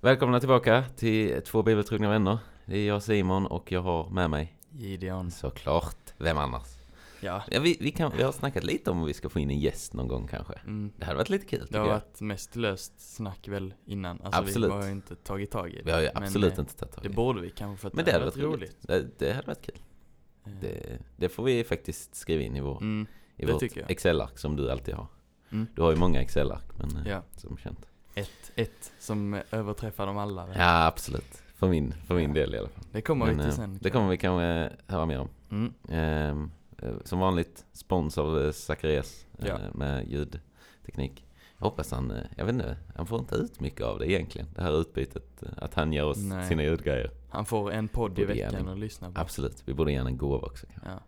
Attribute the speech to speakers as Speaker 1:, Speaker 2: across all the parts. Speaker 1: Välkomna tillbaka till två bibeltrogna vänner. Det är jag Simon och jag har med mig
Speaker 2: Gideon.
Speaker 1: såklart, vem annars?
Speaker 2: Ja.
Speaker 1: Ja, vi, vi, kan, vi har snackat lite om vi ska få in en gäst någon gång kanske.
Speaker 2: Mm.
Speaker 1: Det hade varit lite kul
Speaker 2: Det
Speaker 1: tycker
Speaker 2: har
Speaker 1: jag.
Speaker 2: varit mest löst snack väl innan. Alltså
Speaker 1: Absolut.
Speaker 2: vi har ju inte tagit tag i det.
Speaker 1: Vi har ju
Speaker 2: Men,
Speaker 1: absolut
Speaker 2: eh,
Speaker 1: inte tagit tag i
Speaker 2: Det borde vi kanske för att
Speaker 1: Men det hade varit roligt. Det, det hade varit kul.
Speaker 2: Eh,
Speaker 1: Det, det får vi faktiskt skriva in i, vår,
Speaker 2: Mm.
Speaker 1: i
Speaker 2: det
Speaker 1: vårt
Speaker 2: tycker jag.
Speaker 1: Excel-ark som du alltid har.
Speaker 2: Mm.
Speaker 1: Du har ju många Excel-ark men eh,
Speaker 2: Ja,
Speaker 1: som känt.
Speaker 2: ett, ett som eh, överträffar dem alla. väl?
Speaker 1: Ja absolut, för min, för min del i alla fall.
Speaker 2: Det kommer vi
Speaker 1: Men,
Speaker 2: till
Speaker 1: eh,
Speaker 2: sen.
Speaker 1: Det kommer vi kanske höra mer om.
Speaker 2: Mm.
Speaker 1: Ehm, eh, som vanligt spons av eh, Zacharias eh,
Speaker 2: Ja.
Speaker 1: med ljudteknik. Jag hoppas han, eh, jag vet inte, han får inte ut mycket av det egentligen. Det här utbytet, eh, att han ger oss
Speaker 2: Nej.
Speaker 1: sina ljudgrejer.
Speaker 2: Han får en podd i
Speaker 1: Borde ge
Speaker 2: veckan
Speaker 1: en-
Speaker 2: att lyssna på.
Speaker 1: Absolut, vi borde ge honom en gåva också. kanske.
Speaker 2: Ja.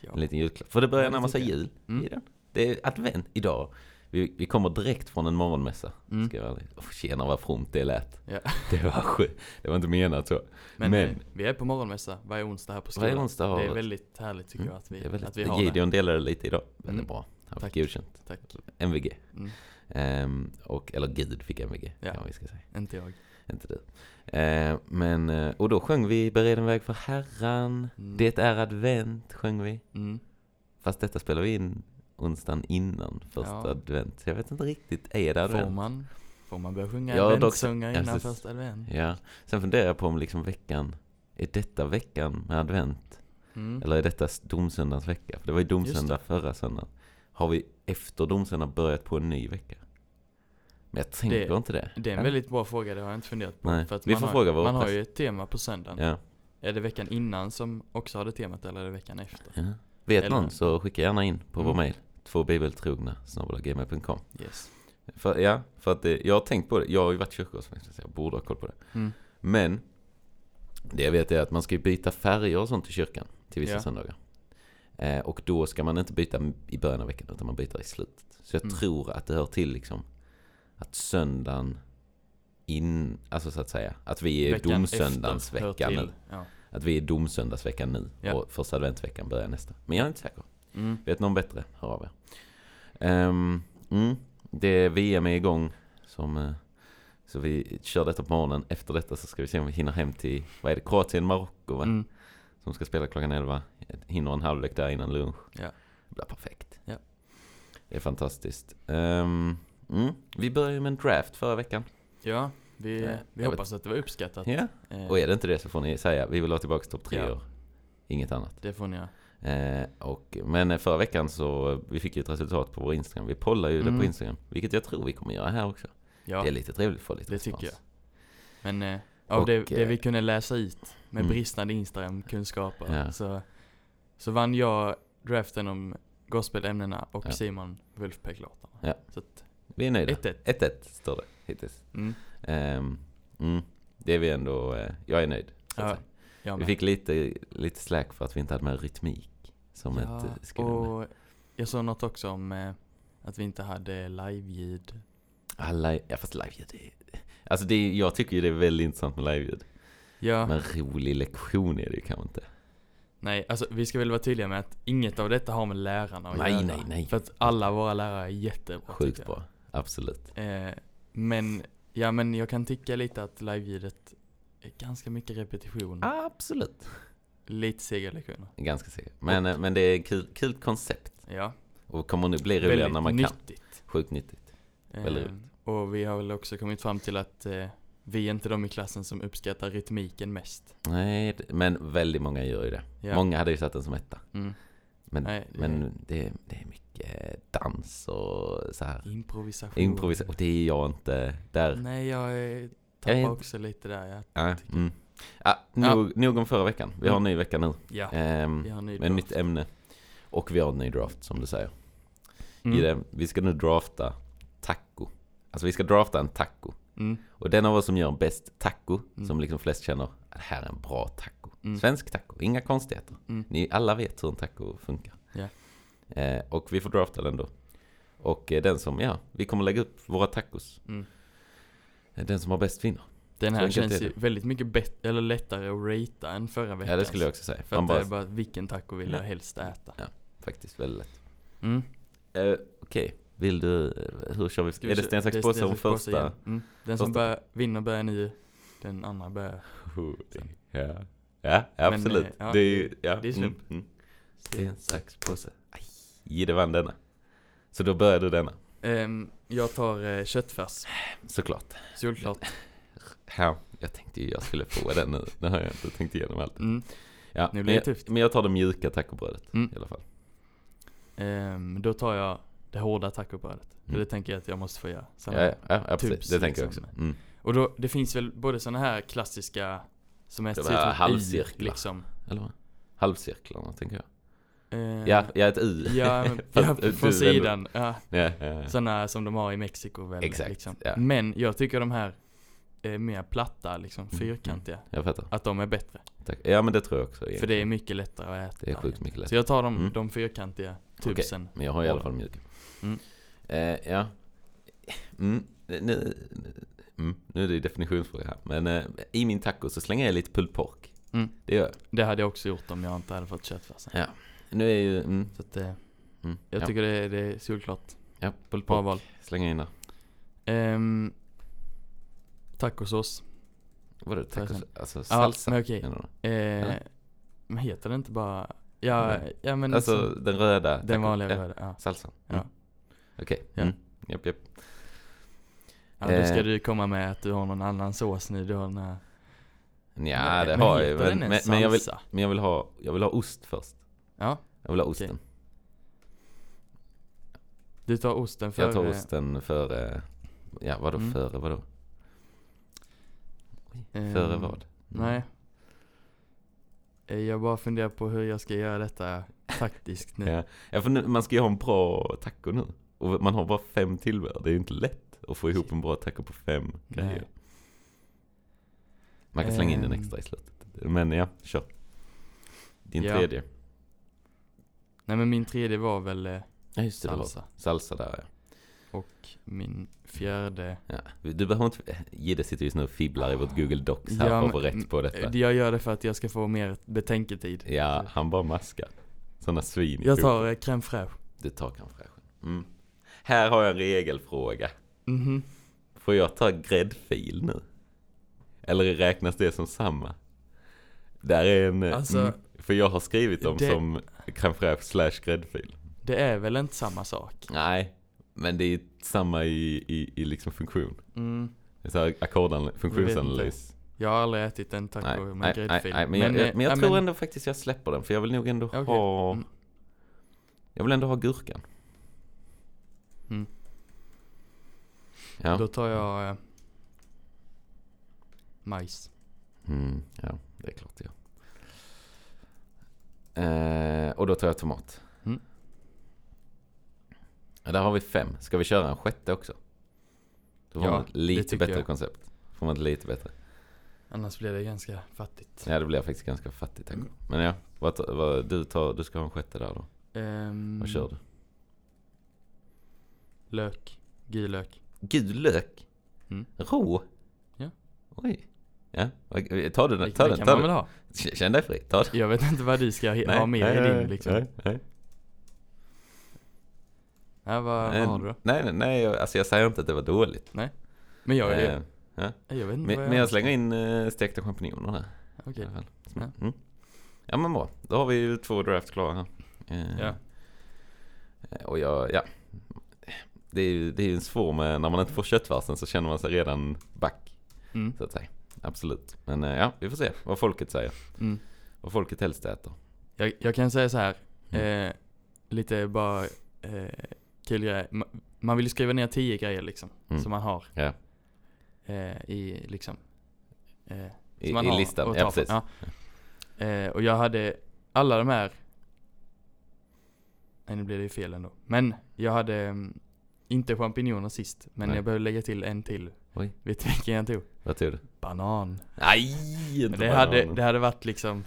Speaker 2: Ja.
Speaker 1: En liten julklapp. För det
Speaker 2: Ja,
Speaker 1: börjar
Speaker 2: det
Speaker 1: närma sig
Speaker 2: tycker jag.
Speaker 1: jul
Speaker 2: Mm.
Speaker 1: i den. Det är advent idag. Vi, vi kommer direkt från en morgonmässa.
Speaker 2: Mm.
Speaker 1: Ska jag vara ärlig. oh, tjena vad fromt det lät.
Speaker 2: Ja.
Speaker 1: Det var skönt. Det var inte menat så.
Speaker 2: Men,
Speaker 1: men-
Speaker 2: eh, vi är på morgonmässa varje onsdag här på skolan.
Speaker 1: Varje onsdag har
Speaker 2: Det är
Speaker 1: varit-
Speaker 2: väldigt härligt tycker
Speaker 1: Mm,
Speaker 2: jag att vi,
Speaker 1: det är väldigt,
Speaker 2: att vi har
Speaker 1: Gideon delade det lite idag. Väldigt
Speaker 2: Mm.
Speaker 1: bra. Han fick
Speaker 2: Tack.
Speaker 1: godkänt.
Speaker 2: det. Tack.
Speaker 1: MVG.
Speaker 2: Mm.
Speaker 1: Ehm, och, eller Gud fick MVG,
Speaker 2: Ja.
Speaker 1: kan vi ska säga.
Speaker 2: Inte jag.
Speaker 1: Inte du. Ehm, men, eh, och då sjöng vi Bered en väg för Herran,
Speaker 2: Mm.
Speaker 1: det är advent, sjöng vi.
Speaker 2: Mm.
Speaker 1: Fast detta spelar vi in onsdagen innan första
Speaker 2: Ja.
Speaker 1: advent. Så jag vet inte riktigt, är det
Speaker 2: Får
Speaker 1: advent?
Speaker 2: man, får man börja sjunga
Speaker 1: Ja, dock-
Speaker 2: adventssånger
Speaker 1: ja,
Speaker 2: innan
Speaker 1: precis.
Speaker 2: första advent?
Speaker 1: Ja. Sen funderar jag på om liksom veckan, är detta veckan med advent?
Speaker 2: Mm.
Speaker 1: Eller är detta s- domsöndagens vecka? För det var ju domsöndag förra söndagen. Har vi efter domsöndag börjat på en ny vecka? Men jag tänker inte det.
Speaker 2: Det är en
Speaker 1: Ja.
Speaker 2: väldigt bra fråga, det har jag inte funderat på.
Speaker 1: Nej,
Speaker 2: För att
Speaker 1: vi
Speaker 2: man
Speaker 1: får
Speaker 2: har,
Speaker 1: fråga vår
Speaker 2: Man har
Speaker 1: präst.
Speaker 2: ju ett tema på söndagen.
Speaker 1: Ja.
Speaker 2: Är det veckan innan som också har det temat eller är det veckan efter?
Speaker 1: Ja. Vet
Speaker 2: Eller-
Speaker 1: någon så skicka gärna in på vår
Speaker 2: Mm.
Speaker 1: mail. Två bibeltrogna snabel-gmail.com.
Speaker 2: Yes.
Speaker 1: För, ja, för att det, jag har tänkt på det. Jag har ju varit kyrkogårdsmästare så jag borde ha koll på det.
Speaker 2: Mm.
Speaker 1: Men det jag vet är att man ska ju byta färger och sånt i kyrkan till vissa
Speaker 2: Ja.
Speaker 1: söndagar. Eh, och då ska man inte byta i början av veckan utan man byter i slutet. Så jag
Speaker 2: Mm.
Speaker 1: tror att det hör till liksom att söndagen in, alltså så att säga, att vi är
Speaker 2: Veckan efter hör
Speaker 1: domsöndagsveckan
Speaker 2: till.
Speaker 1: nu.
Speaker 2: Ja.
Speaker 1: Att vi är domsöndagsveckan nu
Speaker 2: Ja.
Speaker 1: och första adventsveckan börjar nästa. Men jag är inte säker.
Speaker 2: Mm.
Speaker 1: Vet någon bättre? Hör av er. Ehm, mm, det VM är igång. Som, eh, så vi kör detta på morgonen. Efter detta så ska vi se om vi hinner hem till, vad är det, Kroatien, Marocko va?
Speaker 2: Mm.
Speaker 1: Som ska spela klockan 11. Hinner en halvlek där innan lunch.
Speaker 2: Ja.
Speaker 1: Det blir perfekt.
Speaker 2: Ja.
Speaker 1: Det är fantastiskt. Ehm, mm, vi började ju med en draft förra veckan.
Speaker 2: ja, vi,
Speaker 1: Ja,
Speaker 2: vi
Speaker 1: jag
Speaker 2: hoppas att det var uppskattat.
Speaker 1: Ja.
Speaker 2: Eh,
Speaker 1: Och är det inte det så får ni säga, vi vill ha tillbaka topp tre
Speaker 2: Ja.
Speaker 1: år. Inget annat.
Speaker 2: Det får ni göra.
Speaker 1: Eh, och, men förra veckan så, vi fick ju ett resultat på vår Instagram. Vi pollar ju det
Speaker 2: Mm.
Speaker 1: på Instagram. Vilket jag tror vi kommer göra här också.
Speaker 2: Ja,
Speaker 1: Det är lite trevligt att få lite
Speaker 2: det
Speaker 1: respons.
Speaker 2: tycker jag. Men eh, av
Speaker 1: Och,
Speaker 2: det, det
Speaker 1: eh,
Speaker 2: vi kunde läsa ut med
Speaker 1: mm.
Speaker 2: bristande Instagram-kunskaper
Speaker 1: Ja.
Speaker 2: så, så vann jag draften om gospelämnena och
Speaker 1: Ja.
Speaker 2: Simon Wolfpack-låtarna.
Speaker 1: Ja.
Speaker 2: Så att,
Speaker 1: Vi är nöjda.
Speaker 2: 1-1.
Speaker 1: 1-1 står det hittills.
Speaker 2: Mm.
Speaker 1: Ehm, mm, det är vi ändå, eh, jag är nöjd. Så att
Speaker 2: Ja,
Speaker 1: säga.
Speaker 2: jag
Speaker 1: vi
Speaker 2: med.
Speaker 1: fick lite, lite slack för att vi inte hade med rytmik. Som ett eh,
Speaker 2: ja,
Speaker 1: skrivande.
Speaker 2: och jag såg något också om eh, att vi inte hade live-ljud.
Speaker 1: Alla, Ah, ja fast liveljud är... Alltså det är, jag tycker ju det är väldigt intressant med liveljud.
Speaker 2: Ja,
Speaker 1: Men rolig lektion är det ju kanske inte.
Speaker 2: nej, alltså vi ska väl vara tydliga med att inget av detta har med lärarna att
Speaker 1: Nej,
Speaker 2: göra.
Speaker 1: nej, nej.
Speaker 2: För att alla våra lärare är jättebra.
Speaker 1: Sjukt
Speaker 2: tycker
Speaker 1: bra. Absolut.
Speaker 2: jag. Eh, men, ja men jag kan tycka lite att live-ljudet är ganska mycket repetition.
Speaker 1: Ah. Absolut.
Speaker 2: Lite segerlektioner.
Speaker 1: Ganska säker. Men, eh, men det är ett kul, kul koncept.
Speaker 2: Ja,
Speaker 1: Och kommer nu bli roligare när man kan.
Speaker 2: nyttigt.
Speaker 1: Sjukt nyttigt. Väldigt
Speaker 2: Eh, och vi har väl också kommit fram till att eh, vi är inte de i klassen som uppskattar rytmiken mest.
Speaker 1: Nej, det- men väldigt många gör ju det.
Speaker 2: Ja.
Speaker 1: Många hade ju satt den som etta.
Speaker 2: Mm.
Speaker 1: Men,
Speaker 2: Nej, det-
Speaker 1: men det, det är mycket dans och så här.
Speaker 2: Improvisation.
Speaker 1: Improvisation. Och det är jag inte där.
Speaker 2: Nej, jag eh,
Speaker 1: Jag
Speaker 2: tappar
Speaker 1: är inte-
Speaker 2: också lite där. Jag,
Speaker 1: Ja,
Speaker 2: tycker-
Speaker 1: mm. ah,
Speaker 2: Ja. Mm.
Speaker 1: nog, nog om förra veckan. Vi har en ny vecka nu.
Speaker 2: ja,
Speaker 1: Ehm,
Speaker 2: vi har en ny
Speaker 1: med
Speaker 2: draft.
Speaker 1: nytt ämne. Och vi har en ny draft som du säger.
Speaker 2: Mm.
Speaker 1: I det, vi ska nu drafta taco. Alltså vi ska drafta en taco.
Speaker 2: Mm.
Speaker 1: Och den av oss som gör bäst taco,
Speaker 2: Mm.
Speaker 1: som liksom flest känner, det här är en bra taco.
Speaker 2: Mm.
Speaker 1: Svensk taco, inga konstigheter.
Speaker 2: Mm.
Speaker 1: Ni alla vet hur en taco funkar.
Speaker 2: Ja.
Speaker 1: Eh, och vi får drafta den då. Och eh, den som, ja, vi kommer lägga upp våra tacos.
Speaker 2: Mm.
Speaker 1: Eh, Den som har bäst vinner.
Speaker 2: Den
Speaker 1: Så
Speaker 2: här
Speaker 1: enkelt
Speaker 2: känns
Speaker 1: är
Speaker 2: ju väldigt mycket bättre, eller lättare att ratea än förra veckan.
Speaker 1: Ja, det skulle jag också säga.
Speaker 2: För
Speaker 1: Man
Speaker 2: att det
Speaker 1: bara,
Speaker 2: är bara vilken taco vill jag helst äta.
Speaker 1: faktiskt väldigt lätt.
Speaker 2: Mm.
Speaker 1: Eh, Okej, Vill du, eh, hur kör vi?
Speaker 2: Ska vi
Speaker 1: är det
Speaker 2: kö-
Speaker 1: sten, sax,
Speaker 2: är
Speaker 1: påse
Speaker 2: sten,
Speaker 1: om
Speaker 2: sax, påse igen.
Speaker 1: första?
Speaker 2: Mm. Den som
Speaker 1: första.
Speaker 2: börjar, vinner börjar nio, den andra börjar
Speaker 1: Ja, ja absolut.
Speaker 2: eh, ja,
Speaker 1: det är ju, ja.
Speaker 2: det är slump.
Speaker 1: Mm, mm. Sten, sax, påse. Aj, Jidde vann denna. Så då börjar du denna,
Speaker 2: Ehm, jag tar eh, köttfärs,
Speaker 1: såklart.
Speaker 2: solklart.
Speaker 1: Ja, jag tänkte ju jag skulle få den nu. Nu har jag inte tänkt igenom allt.
Speaker 2: Mm.
Speaker 1: Ja, eh,
Speaker 2: Nu blir
Speaker 1: men,
Speaker 2: det
Speaker 1: jag,
Speaker 2: tufft.
Speaker 1: men jag tar det mjuka tacobrödet
Speaker 2: Mm.
Speaker 1: i alla fall.
Speaker 2: Ehm, då tar jag det hårda tacobrödet. För
Speaker 1: Mm.
Speaker 2: det tänker jag att jag måste få göra. Sen-
Speaker 1: Ja, ja, ja precis.
Speaker 2: tubs,
Speaker 1: det tänker
Speaker 2: liksom.
Speaker 1: jag också. Mm.
Speaker 2: Och då, det finns väl både sådana här klassiska som är
Speaker 1: Det var
Speaker 2: ser ut som ett
Speaker 1: halvcirklar.
Speaker 2: i, liksom.
Speaker 1: Eller vad? Halvcirklarna tänker jag.
Speaker 2: Ehm,
Speaker 1: Ja, ja ett U.
Speaker 2: Ja, men,
Speaker 1: Fast
Speaker 2: ja,
Speaker 1: du
Speaker 2: från
Speaker 1: ändå-
Speaker 2: sidan. Ja,
Speaker 1: Ja, ja, ja.
Speaker 2: sådana som de har i Mexiko väl.
Speaker 1: Exakt,
Speaker 2: liksom.
Speaker 1: ja.
Speaker 2: Men jag tycker de här är mer platta, liksom
Speaker 1: Mm,
Speaker 2: fyrkantiga.
Speaker 1: Jag fattar.
Speaker 2: Att de är bättre.
Speaker 1: Tack. Ja men det tror jag också.
Speaker 2: För det är
Speaker 1: egentligen.
Speaker 2: mycket lättare att äta.
Speaker 1: det är sjukt mycket
Speaker 2: Så
Speaker 1: lättare.
Speaker 2: jag tar de,
Speaker 1: Mm.
Speaker 2: de fyrkantiga tubsen.
Speaker 1: Men jag har i alla fall mjuk.
Speaker 2: Mm.
Speaker 1: Eh, ja. Mm. Nu, nu- mm. nu är det ju definitionsfråga här. Men eh, i min taco så slänger jag lite pulled pork.
Speaker 2: Mm.
Speaker 1: Det gör jag.
Speaker 2: Det hade jag också gjort om jag inte hade fått köttfärsen.
Speaker 1: Nu är ju... Mm,
Speaker 2: Så att, eh,
Speaker 1: mm,
Speaker 2: jag
Speaker 1: ja,
Speaker 2: tycker det, är- det är solklart.
Speaker 1: ja, pulled
Speaker 2: Bra
Speaker 1: pork.
Speaker 2: val.
Speaker 1: Slänger in där.
Speaker 2: Um, tacosås.
Speaker 1: Vadå tacos?
Speaker 2: sen.
Speaker 1: Alltså
Speaker 2: Ja,
Speaker 1: salsa?
Speaker 2: men okej.
Speaker 1: menar du?
Speaker 2: Eh, men heter det inte bara... Ja,
Speaker 1: Nej.
Speaker 2: ja men
Speaker 1: Alltså
Speaker 2: som-
Speaker 1: den röda?
Speaker 2: den
Speaker 1: taco-
Speaker 2: vanliga
Speaker 1: ja,
Speaker 2: röda. Ja.
Speaker 1: Salsan?
Speaker 2: Ja.
Speaker 1: Mm. Okej.
Speaker 2: Ja.
Speaker 1: Mm. Japp, japp.
Speaker 2: Ja, då ska
Speaker 1: Eh.
Speaker 2: du komma med att du har någon annan sås nu. Du har den här...
Speaker 1: Nja, det
Speaker 2: men
Speaker 1: har jag
Speaker 2: heter
Speaker 1: ju. Men,
Speaker 2: den
Speaker 1: men,
Speaker 2: ens
Speaker 1: men, jag vill,
Speaker 2: salsa?
Speaker 1: men jag, vill ha, jag vill ha ost först.
Speaker 2: Ja,
Speaker 1: Jag vill ha
Speaker 2: Okej.
Speaker 1: osten.
Speaker 2: du tar osten för...
Speaker 1: Jag tar
Speaker 2: eh,
Speaker 1: osten före... Ja, vadå
Speaker 2: Mm.
Speaker 1: före vadå?
Speaker 2: ehm,
Speaker 1: Före vad? Mm.
Speaker 2: Nej. Eh, Jag bara funderar på hur jag ska göra detta taktiskt nu.
Speaker 1: Ja. Ja, för nu, man ska ju ha en bra taco nu. Och man har bara fem tillbehör. Det är ju inte lätt att få ihop en bra taco på fem
Speaker 2: Nej.
Speaker 1: grejer. Man kan slänga in den
Speaker 2: Ehm.
Speaker 1: extra i slutet. Men ja, kör. Din
Speaker 2: Ja.
Speaker 1: tredje.
Speaker 2: Nej men min tredje var väl eh,
Speaker 1: Ja, just det. det var
Speaker 2: salsa.
Speaker 1: Salsa där ja.
Speaker 2: Och min fjärde...
Speaker 1: ja. Du behöver inte... Jidde sitter just nu och fibblar i vårt Google Docs här
Speaker 2: Ja,
Speaker 1: för att få
Speaker 2: men-
Speaker 1: rätt på detta.
Speaker 2: Eh, Jag gör det för att jag ska få mer betänketid.
Speaker 1: Ja, han bara maskar. Sådana svin i
Speaker 2: Jag
Speaker 1: fotboll.
Speaker 2: tar eh, crème fraîche.
Speaker 1: Du tar crème fraîche. Mm. Här har jag en regelfråga.
Speaker 2: Mhm.
Speaker 1: Får jag ta gräddfil nu? Eller räknas det som samma? Där är en... eh,
Speaker 2: Alltså,
Speaker 1: mm, för jag har skrivit dem
Speaker 2: det-
Speaker 1: som crème fraîche slash gräddfil.
Speaker 2: Det är väl inte samma sak?
Speaker 1: Nej, men det är ju samma i, i, i liksom funktion.
Speaker 2: Mm.
Speaker 1: Det är så här ackordan, funktionsanalys.
Speaker 2: Jag har aldrig ätit en taco
Speaker 1: Nej,
Speaker 2: med
Speaker 1: nej, nej,
Speaker 2: gräddfil.
Speaker 1: nej, men jag, jag,
Speaker 2: eh,
Speaker 1: men jag
Speaker 2: ja,
Speaker 1: tror ändå faktiskt jag släpper den. För jag vill nog ändå
Speaker 2: Okej.
Speaker 1: ha...
Speaker 2: Mm.
Speaker 1: Jag vill ändå ha gurkan.
Speaker 2: Mm.
Speaker 1: Ja.
Speaker 2: Då tar jag eh, majs.
Speaker 1: Mm, ja, det är klart jag. Eh, och då tar jag tomat.
Speaker 2: Mm.
Speaker 1: Ja, där har vi fem. Ska vi köra en sjätte också? Då får
Speaker 2: Ja,
Speaker 1: man ett lite
Speaker 2: tycker
Speaker 1: bättre
Speaker 2: jag.
Speaker 1: koncept. Får man ett lite bättre.
Speaker 2: Annars blir det ganska fattigt.
Speaker 1: Ja, det blir faktiskt ganska fattigt. tack.
Speaker 2: Mm.
Speaker 1: Men ja, vad, ta- vad, du, tar, du ska ha en sjätte där då.
Speaker 2: Ehm,
Speaker 1: Vad kör du?
Speaker 2: Lök. Gul lök.
Speaker 1: Gul lök?
Speaker 2: Mm.
Speaker 1: Rå?
Speaker 2: Ja.
Speaker 1: Oj. Ja, vad- ta den,
Speaker 2: Det,
Speaker 1: ta
Speaker 2: det
Speaker 1: den,
Speaker 2: kan
Speaker 1: ta
Speaker 2: man väl
Speaker 1: den.
Speaker 2: ha?
Speaker 1: K- Känn dig fri, ta den.
Speaker 2: Jag vet inte vad du ska he- ha med i din liksom.
Speaker 1: Nej, nej.
Speaker 2: Ja, vad,
Speaker 1: nej,
Speaker 2: vad har du då?
Speaker 1: nej, nej, nej, jag- alltså jag säger inte att det var dåligt.
Speaker 2: Men jag,
Speaker 1: Eh,
Speaker 2: jag, jag vet inte
Speaker 1: men,
Speaker 2: vad
Speaker 1: men jag slänger in eh, stekta champinjoner här. i
Speaker 2: Okej.
Speaker 1: alla fall.
Speaker 2: Ja.
Speaker 1: Mm. ja men bra, då har vi ju två draft klara här. Eh,
Speaker 2: Ja.
Speaker 1: eh, Och jag, ja. Det är ju det är ju en svår med, när man inte får köttfärsen så känner man sig redan back.
Speaker 2: Mm.
Speaker 1: Så att säga. Absolut. Men eh, ja, vi får se vad folket säger.
Speaker 2: Mm.
Speaker 1: Vad folket helst äter.
Speaker 2: Jag, jag kan säga så här.
Speaker 1: Mm.
Speaker 2: Eh, lite bara eh, kul grej. Ma- Man vill ju skriva ner tio grejer liksom.
Speaker 1: Mm.
Speaker 2: Som man har.
Speaker 1: Ja.
Speaker 2: Eh, I liksom. Eh,
Speaker 1: I,
Speaker 2: som man
Speaker 1: i
Speaker 2: har
Speaker 1: listan,
Speaker 2: att
Speaker 1: ja
Speaker 2: ta från.
Speaker 1: precis.
Speaker 2: Ja. Eh, och jag hade alla de här. Nej nu blev det ju fel ändå. Men jag hade mm, inte champinjoner sist. Men
Speaker 1: Nej.
Speaker 2: jag behövde lägga till en till.
Speaker 1: Oj.
Speaker 2: Vet du vilken jag tog?
Speaker 1: Vad tog du?
Speaker 2: Banan.
Speaker 1: Nej!
Speaker 2: Men
Speaker 1: Inte
Speaker 2: det,
Speaker 1: banan.
Speaker 2: hade, det hade varit liksom.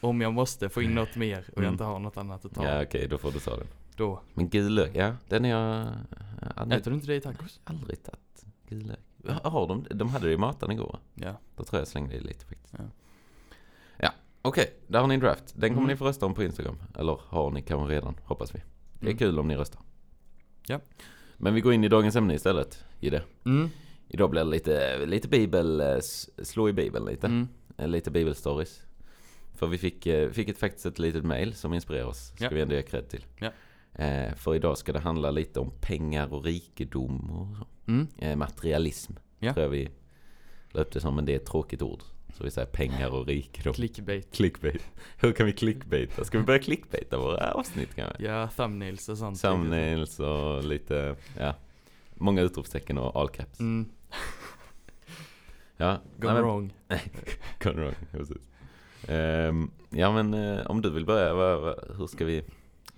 Speaker 2: Om jag måste få in något mer och
Speaker 1: Mm.
Speaker 2: jag inte har något annat att ta.
Speaker 1: Ja okej, då får du ta den.
Speaker 2: Då.
Speaker 1: Men gul lök, ja den är jag... jag har aldrig-
Speaker 2: Äter du inte det i tacos?
Speaker 1: Aldrig tagit gul lök. Ja, Har de, de hade det i maten igår.
Speaker 2: Ja.
Speaker 1: Då tror jag jag slängde i lite faktiskt.
Speaker 2: Ja.
Speaker 1: Ja, okej. Där har ni en draft. Den kommer
Speaker 2: Mm.
Speaker 1: ni få rösta om på Instagram. Eller har ni kanske redan, hoppas vi. Det är
Speaker 2: Mm.
Speaker 1: kul om ni röstar.
Speaker 2: Ja.
Speaker 1: Men vi går in i dagens ämne istället, i det.
Speaker 2: Mm.
Speaker 1: Idag blir det lite, lite bibel, eh, s- slå i bibeln lite.
Speaker 2: Mm.
Speaker 1: Eh, Lite bibelstories. För vi fick, eh, fick ett, faktiskt ett litet mail som inspirerar oss. Ska
Speaker 2: Ja.
Speaker 1: vi ändå ge cred till.
Speaker 2: Ja.
Speaker 1: Eh, för idag ska det handla lite om pengar och rikedom och så.
Speaker 2: Mm.
Speaker 1: Eh, materialism.
Speaker 2: Ja.
Speaker 1: Tror jag vi löpte som, men det är ett tråkigt ord. Så vi säger pengar och rikedom.
Speaker 2: Clickbait.
Speaker 1: clickbait. Hur kan vi clickbaita? Ska vi börja clickbaita våra avsnitt kanske?
Speaker 2: Ja, thumbnails och sånt.
Speaker 1: Thumbnails och lite, ja. Många utropstecken och all caps.
Speaker 2: Mm.
Speaker 1: Ja,
Speaker 2: Gone
Speaker 1: nej, men-
Speaker 2: wrong.
Speaker 1: Gone wrong, ja, precis. Ehm, ja men eh, om du vill börja, vad, vad, hur ska vi...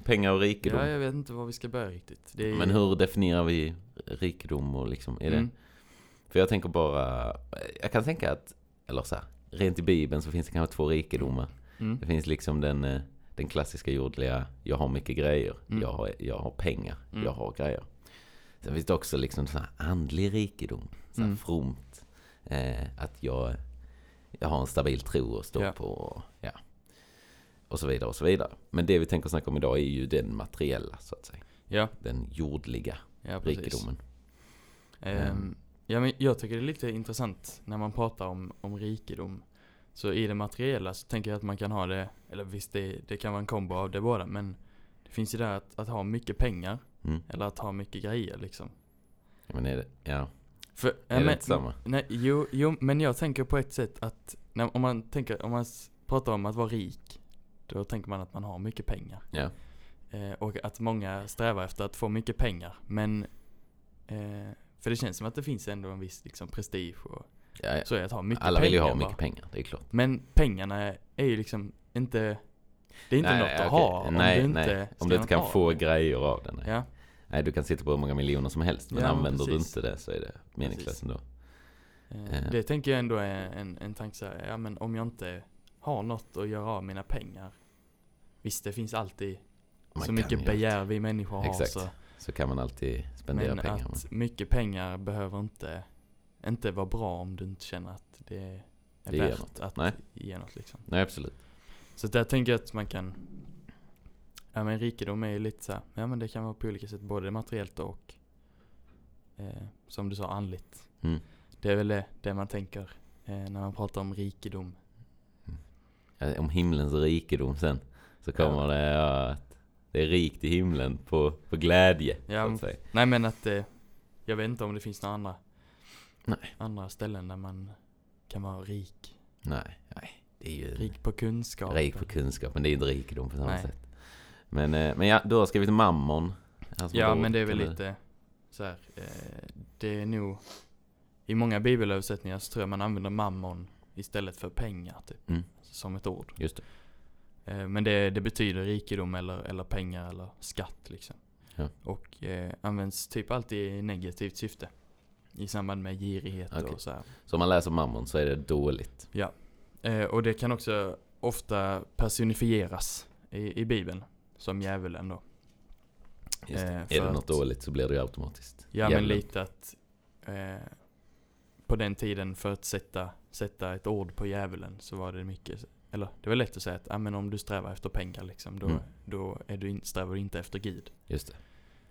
Speaker 1: Pengar och rikedom.
Speaker 2: Ja, jag vet inte var vi ska börja riktigt. Det är...
Speaker 1: Men hur definierar vi rikedom och liksom, är det...
Speaker 2: Mm.
Speaker 1: För jag tänker bara, jag kan tänka att, eller så här, rent i Bibeln så finns det kanske två rikedomar.
Speaker 2: Mm.
Speaker 1: Det finns liksom den, eh, den klassiska jordliga, jag har mycket grejer,
Speaker 2: Mm.
Speaker 1: jag, har, jag har pengar,
Speaker 2: Mm.
Speaker 1: jag har grejer. Sen finns det också liksom så här andlig rikedom, så här
Speaker 2: Mm.
Speaker 1: fromt. Eh, att jag, jag har en stabil tro att stå
Speaker 2: Ja.
Speaker 1: på. Och, ja. och så vidare och så vidare. Men det vi tänker snacka om idag är ju den materiella, så att säga.
Speaker 2: Ja,
Speaker 1: Den jordliga
Speaker 2: ja precis.
Speaker 1: rikedomen.
Speaker 2: Ehm,
Speaker 1: Ehm.
Speaker 2: ja, men jag tycker det är lite intressant när man pratar om, om rikedom. Så i det materiella så tänker jag att man kan ha det, eller visst det, det kan vara en kombo av det båda, men det finns ju där att, att ha mycket pengar
Speaker 1: Mm.
Speaker 2: eller att ha mycket grejer liksom.
Speaker 1: Men är det, ja,
Speaker 2: För,
Speaker 1: är
Speaker 2: ja,
Speaker 1: det
Speaker 2: men-
Speaker 1: inte samma?
Speaker 2: Nej, jo, jo, men jag tänker på ett sätt att när, om man tänker, om man s- pratar om att vara rik, då tänker man att man har mycket pengar.
Speaker 1: Ja.
Speaker 2: Eh, och att många strävar efter att få mycket pengar, men eh, för det känns som att det finns ändå en viss liksom, prestige och
Speaker 1: Ja, ja.
Speaker 2: så är att ha mycket
Speaker 1: Alla
Speaker 2: pengar.
Speaker 1: vill ju ha
Speaker 2: bara.
Speaker 1: mycket pengar, det är klart.
Speaker 2: Men pengarna är ju liksom inte, det är inte
Speaker 1: Nej,
Speaker 2: något att
Speaker 1: okej.
Speaker 2: ha om
Speaker 1: Nej,
Speaker 2: du
Speaker 1: nej.
Speaker 2: inte
Speaker 1: Om
Speaker 2: ska
Speaker 1: du inte kan
Speaker 2: ha
Speaker 1: få
Speaker 2: det.
Speaker 1: grejer av den. Nej.
Speaker 2: Ja,
Speaker 1: nej, du kan sitta på hur många miljoner som helst. Men
Speaker 2: Ja, men
Speaker 1: använder
Speaker 2: precis.
Speaker 1: du inte det så är det meningslöst
Speaker 2: Precis.
Speaker 1: ändå. Eh.
Speaker 2: eh, det tänker jag ändå är en, en tanke så här, ja men om jag inte har något att göra av mina pengar. Visst, det finns alltid
Speaker 1: Man
Speaker 2: så
Speaker 1: kan
Speaker 2: mycket
Speaker 1: ju-
Speaker 2: begär vi människor har.
Speaker 1: Exakt.
Speaker 2: Så,
Speaker 1: Så kan man alltid spendera
Speaker 2: men
Speaker 1: pengar.
Speaker 2: att mycket pengar behöver inte, inte vara bra om du inte känner att det är
Speaker 1: Det ger
Speaker 2: värt
Speaker 1: något.
Speaker 2: att
Speaker 1: Nej.
Speaker 2: ge något. Liksom.
Speaker 1: Nej, absolut.
Speaker 2: Så där tänker jag att man kan, ja men rikedom är ju lite så här, ja men det kan vara på olika sätt, både materiellt och eh, som du sa andligt.
Speaker 1: Mm.
Speaker 2: Det är väl det, det man tänker eh, när man pratar om rikedom.
Speaker 1: Ja, Om himlens rikedom sen så kommer
Speaker 2: Ja.
Speaker 1: det ja, att det är rikt i himlen på, på glädje.
Speaker 2: Ja,
Speaker 1: så
Speaker 2: men-
Speaker 1: att säga.
Speaker 2: Nej men att eh, jag vet inte om det finns några andra,
Speaker 1: Nej.
Speaker 2: andra ställen där man kan vara rik.
Speaker 1: Nej, nej. Det är ju rik,
Speaker 2: Rik på kunskap.
Speaker 1: på kunskap, men det är inte rikedom på samma
Speaker 2: Nej.
Speaker 1: sätt. Men, eh, men ja, du har skrivit mammon. här som
Speaker 2: Ja,
Speaker 1: ett
Speaker 2: men
Speaker 1: ord,
Speaker 2: det är väl
Speaker 1: Alltså, eller?
Speaker 2: lite så här. Eh, det är nog i många bibelöversättningar så tror jag man använder mammon istället för pengar typ.
Speaker 1: Mm.
Speaker 2: Som ett ord.
Speaker 1: Just det.
Speaker 2: Eh, men det, det betyder rikedom eller, eller pengar eller skatt liksom.
Speaker 1: Ja.
Speaker 2: Och eh, används typ alltid i negativt syfte. I samband med girighet
Speaker 1: Okej.
Speaker 2: och så här.
Speaker 1: Så om man läser mammon så är det dåligt.
Speaker 2: Eh, och det kan också ofta personifieras i, i bibeln. Som djävulen då.
Speaker 1: Just det.
Speaker 2: Eh,
Speaker 1: är
Speaker 2: för
Speaker 1: det något
Speaker 2: att-
Speaker 1: dåligt så blir det ju automatiskt.
Speaker 2: Ja men
Speaker 1: djävulen.
Speaker 2: lite att eh, på den tiden för att sätta, sätta ett ord på djävulen så var det mycket, eller det var lätt att säga att ah, men om du strävar efter pengar liksom då,
Speaker 1: Mm.
Speaker 2: då är du in, strävar du inte efter Gud.
Speaker 1: Just det.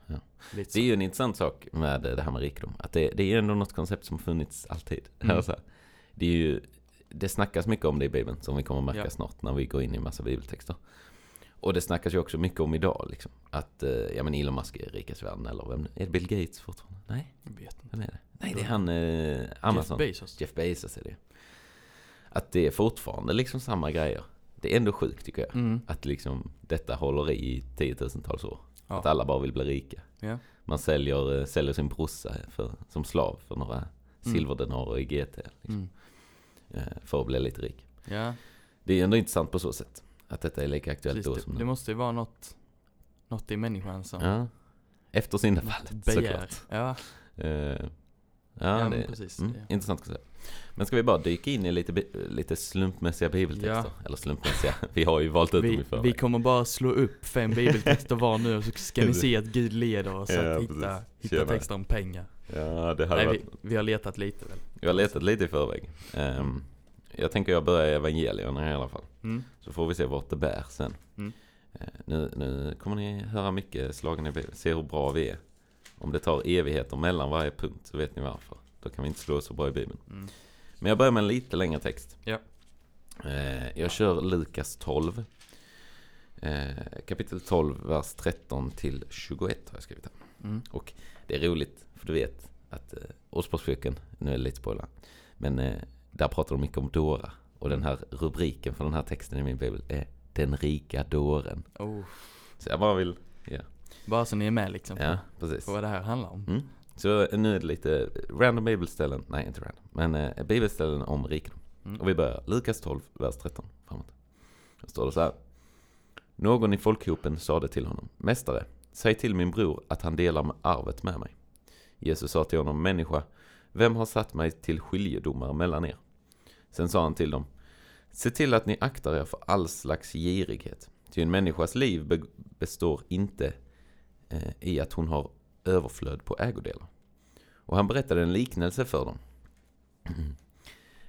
Speaker 2: Lite
Speaker 1: Det är
Speaker 2: så.
Speaker 1: ju en intressant sak med det här med rikedom. Att det, det är ändå något koncept som funnits alltid.
Speaker 2: Mm.
Speaker 1: Alltså, det, är ju, det snackas mycket om det i Bibeln, som vi kommer att märka
Speaker 2: Ja.
Speaker 1: snart när vi går in i massa bibeltexter. Och det snackas ju också mycket om idag. Liksom. Att eh, ja, men Elon Musk är rikast i världen, eller vem är det? Bill Gates fortfarande? Nej,
Speaker 2: Jag vet inte.
Speaker 1: vem är det? Nej, det är han eh, Amazon.
Speaker 2: Jeff Bezos.
Speaker 1: Jeff Bezos är det. Att det är fortfarande liksom samma grejer. Det är ändå sjukt tycker jag.
Speaker 2: Mm.
Speaker 1: Att liksom detta håller i tiotusentals år.
Speaker 2: Ja.
Speaker 1: Att alla bara vill bli rika.
Speaker 2: Ja.
Speaker 1: Man säljer, eh, säljer sin brorsa för, som slav för några silverdenarer i GT. Liksom,
Speaker 2: Mm.
Speaker 1: eh, För att bli lite rik.
Speaker 2: Ja,
Speaker 1: Det är ändå intressant på så sätt. Att detta är lika aktuellt
Speaker 2: precis,
Speaker 1: då
Speaker 2: det,
Speaker 1: som
Speaker 2: det
Speaker 1: nu.
Speaker 2: måste ju vara något, något i människan som
Speaker 1: Ja. Efter syndafallet
Speaker 2: något
Speaker 1: såklart.
Speaker 2: Ja,
Speaker 1: Eh,
Speaker 2: ja,
Speaker 1: ja,
Speaker 2: men
Speaker 1: det,
Speaker 2: precis.
Speaker 1: Mm,
Speaker 2: Det-
Speaker 1: intressant koncept. Men ska vi bara dyka in i lite, bi- lite slumpmässiga bibeltexter? Eller slumpmässiga, vi har ju valt ut dem
Speaker 2: Vi,
Speaker 1: i förväg.
Speaker 2: vi kommer bara slå upp fem bibeltexter var nu och så ska ni se att Gud leder oss
Speaker 1: Ja,
Speaker 2: att
Speaker 1: precis.
Speaker 2: hitta, hitta
Speaker 1: Tjena.
Speaker 2: texter om pengar.
Speaker 1: Ja, det hade
Speaker 2: Nej,
Speaker 1: varit...
Speaker 2: vi, vi har letat lite väl.
Speaker 1: Jag har letat lite i förväg. Ehm, jag tänker jag börjar i evangelierna i alla fall.
Speaker 2: Mm.
Speaker 1: Så får vi se vart det bär sen.
Speaker 2: Mm.
Speaker 1: Eh, Nu, nu kommer ni höra mycket slagen i Bibeln. Se hur bra vi är. Om det tar evigheter mellan varje punkt så vet ni varför. Då kan vi inte slå så bra i Bibeln.
Speaker 2: Mm.
Speaker 1: Men jag börjar med en lite längre text.
Speaker 2: Ja.
Speaker 1: Eh, jag kör Lukas 12. Eh, kapitel 12, vers 13 till 21 har jag skrivit här.
Speaker 2: Mm.
Speaker 1: Det är roligt, för du vet att eh, Osborgsjukan, nu är det lite spoiler, men eh, där pratar de mycket om dårar. Och den här rubriken för den här texten i min bibel är Den rika dåren.
Speaker 2: Oh.
Speaker 1: Så jag bara vill...
Speaker 2: Bara så ni är med liksom.
Speaker 1: Ja,
Speaker 2: på-
Speaker 1: precis.
Speaker 2: På vad det här handlar om.
Speaker 1: Mm. Så nu är det lite random bibelställen, nej inte random, men eh, bibelställen om rikedom.
Speaker 2: Mm.
Speaker 1: Och vi börjar Lukas 12, vers 13 framåt. Då står det så här. Någon i folkhopen sade till honom, Mästare, säg till min bror att han delar med arvet med mig. Jesus sa till honom, Människa, vem har satt mig till skiljedomar mellan er? Sen sa han till dem, Se till att ni aktar er för all slags girighet. Ty en människas liv be- består inte eh, i att hon har överflöd på ägodelar. Och han berättade en liknelse för dem.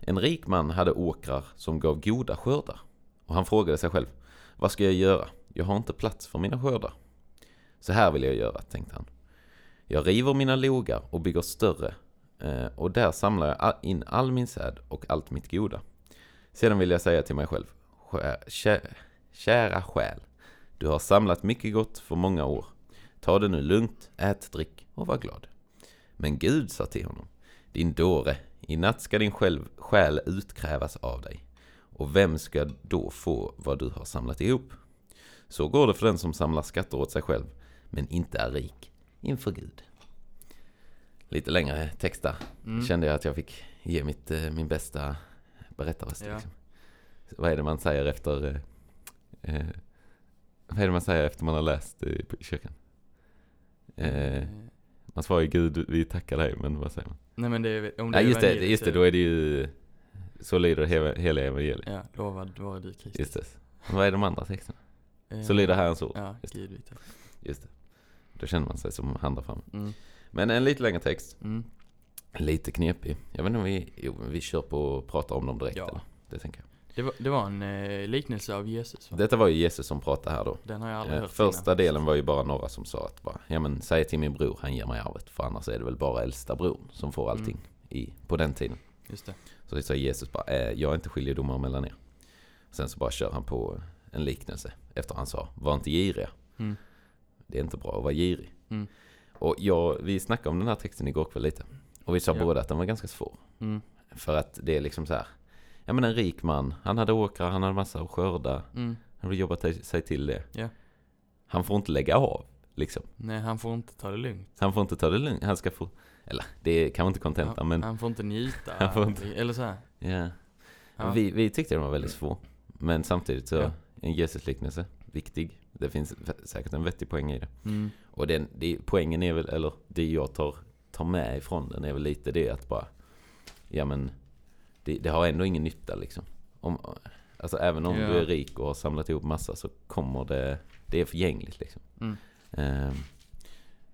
Speaker 1: En rik man hade åkrar som gav goda skördar. Och han frågade sig själv, vad ska jag göra? Jag har inte plats för mina skördar. Så här vill jag göra, tänkte han. Jag river mina logar och bygger större eh, och där samlar jag all- in all min säd och allt mitt goda. Sedan vill jag säga till mig själv, "Skär- kä- kära själ, du har samlat mycket gott för många år. Ta det nu lugnt, ät, drick och var glad. Men Gud sa till honom, din dåre, i natt ska din själv, själ utkrävas av dig. Och vem ska då få vad du har samlat ihop? Så går det för den som samlar skatter åt sig själv, men inte är rik inför Gud. Lite längre text där.
Speaker 2: Mm.
Speaker 1: Kände jag att jag fick ge mitt, eh, min bästa berättarröst.
Speaker 2: Ja.
Speaker 1: Liksom. Vad är det man säger efter... eh, Eh, vad är det man säger efter man har läst i, i kyrkan? Eh,
Speaker 2: Eh,
Speaker 1: man svarar ju Gud, vi tackar dig, men vad säger man?
Speaker 2: Nej men det är om
Speaker 1: Nej just det,
Speaker 2: evangeliet
Speaker 1: just det,
Speaker 2: så-
Speaker 1: då är det ju... Så lyder hela, hela evangeliet.
Speaker 2: Ja, lovad vare du Kristus.
Speaker 1: Just det. Men Vad är de andra texterna?
Speaker 2: Eh,
Speaker 1: Så lyder Herrens ord.
Speaker 2: Ja,
Speaker 1: just
Speaker 2: Gud vet.
Speaker 1: Just det. Då känner man sig som han där framme.
Speaker 2: Mm.
Speaker 1: Men en lite längre text.
Speaker 2: Mm.
Speaker 1: Lite knepig. Jag vet inte om vi... Jo, men vi kör på och pratar om dem direkt
Speaker 2: Ja.
Speaker 1: eller? Det tänker jag.
Speaker 2: Det, var, det var en eh, liknelse av Jesus va?
Speaker 1: Detta var ju Jesus som pratade här då.
Speaker 2: Den har jag aldrig
Speaker 1: Eh,
Speaker 2: hört
Speaker 1: Första
Speaker 2: innan.
Speaker 1: delen var ju bara några som sa att bara, ja men säg till min bror, han ger mig arvet. För annars är det väl bara äldsta bror som
Speaker 2: Mm.
Speaker 1: får allting i, på den tiden.
Speaker 2: Just det.
Speaker 1: Så det sa Jesus bara, eh, jag är inte skiljedomare mellan er. Sen så bara kör han på en liknelse efter han sa, var inte giriga.
Speaker 2: Mm.
Speaker 1: Det är inte bra att vara girig.
Speaker 2: Mm.
Speaker 1: Och jag, vi snackade om den här texten igår kväll lite. Och vi sa
Speaker 2: Ja.
Speaker 1: båda att den var ganska svår.
Speaker 2: Mm.
Speaker 1: För att det är liksom så här, ja men en rik man, han hade åkrar, han hade massa att skörda.
Speaker 2: Mm.
Speaker 1: Han vill jobba till- sig till det.
Speaker 2: Ja.
Speaker 1: Han får inte lägga av, liksom.
Speaker 2: Nej, han får inte ta det lugnt.
Speaker 1: Han får inte ta det lugnt. Han ska få... Eller, det kan man inte kontenta,
Speaker 2: han,
Speaker 1: men...
Speaker 2: han får inte njuta.
Speaker 1: Han får inte-
Speaker 2: Eller så här.
Speaker 1: Ja.
Speaker 2: Ja.
Speaker 1: Vi, vi tyckte den var väldigt svår. Men samtidigt så,
Speaker 2: Ja.
Speaker 1: en Jesusliknelse, viktig. Det finns vä- säkert en vettig poäng i det.
Speaker 2: Mm.
Speaker 1: Och den, det, poängen är väl, eller det jag tar, tar med ifrån den är väl lite det att bara... Ja men, det, det har ändå ingen nytta liksom. Om, alltså även om
Speaker 2: Ja.
Speaker 1: du är rik och har samlat ihop massa så kommer det... Det är förgängligt liksom.
Speaker 2: Mm.
Speaker 1: Ehm,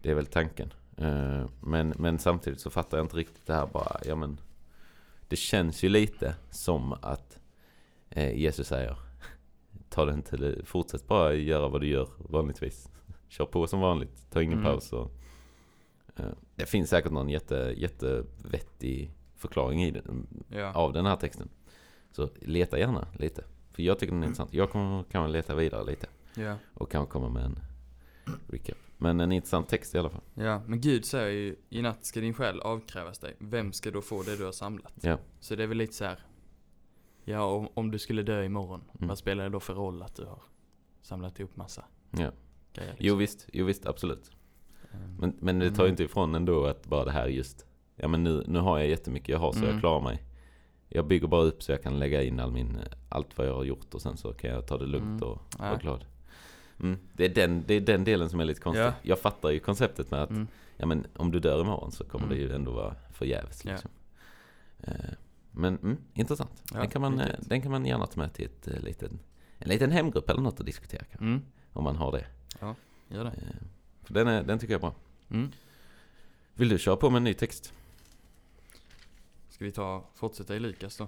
Speaker 1: Det är väl tanken. Ehm, Men, men samtidigt så fattar jag inte riktigt det här bara. Ja, men, det känns ju lite som att eh, Jesus säger Ta det inte, li- fortsätt bara göra vad du gör vanligtvis. Kör på som vanligt, ta ingen
Speaker 2: Mm.
Speaker 1: paus. Och, eh, det finns säkert någon jätte, jättevettig förklaring i den,
Speaker 2: Ja.
Speaker 1: av den här texten. Så leta gärna lite. För jag tycker den är intressant. Jag kommer kan leta vidare lite.
Speaker 2: ja.
Speaker 1: Och kanske komma med en recap. Men en intressant text i alla fall.
Speaker 2: Ja, men Gud säger ju i natt ska din själ avkrävas dig. Vem ska då få det du har samlat?
Speaker 1: Ja.
Speaker 2: Så det är väl lite så här. Ja, om, om du skulle dö imorgon,
Speaker 1: Mm.
Speaker 2: vad spelar det då för roll att du har samlat ihop massa
Speaker 1: Ja.
Speaker 2: grejer? Liksom?
Speaker 1: Jo visst, jo visst, absolut.
Speaker 2: Ehm,
Speaker 1: Men, men det tar ju inte ifrån ändå att bara det här just, ja men nu, nu har jag jättemycket jag har så
Speaker 2: Mm.
Speaker 1: jag klarar mig. Jag bygger bara upp så jag kan lägga in all min, allt vad jag har gjort och sen så kan jag ta det lugnt
Speaker 2: Mm.
Speaker 1: och
Speaker 2: Ja.
Speaker 1: vara glad. Mm. Det, är den, det är den delen som är lite konstig.
Speaker 2: Ja.
Speaker 1: Jag fattar ju konceptet med att
Speaker 2: Mm.
Speaker 1: ja, men om du dör imorgon så kommer
Speaker 2: Mm.
Speaker 1: det ju ändå vara förgäves.
Speaker 2: Ja.
Speaker 1: Liksom. Eh, Men mm, intressant.
Speaker 2: Ja,
Speaker 1: den, kan man, eh,
Speaker 2: riktigt.
Speaker 1: den kan man gärna ta med till ett, eh, liten, en liten hemgrupp eller något att diskutera kanske.
Speaker 2: Mm,
Speaker 1: Om man har det.
Speaker 2: gör det.
Speaker 1: Eh, För den, är, den tycker jag är bra.
Speaker 2: Mm.
Speaker 1: Vill du köra på med en ny text?
Speaker 2: Ska vi ta, fortsätta i Lukas då?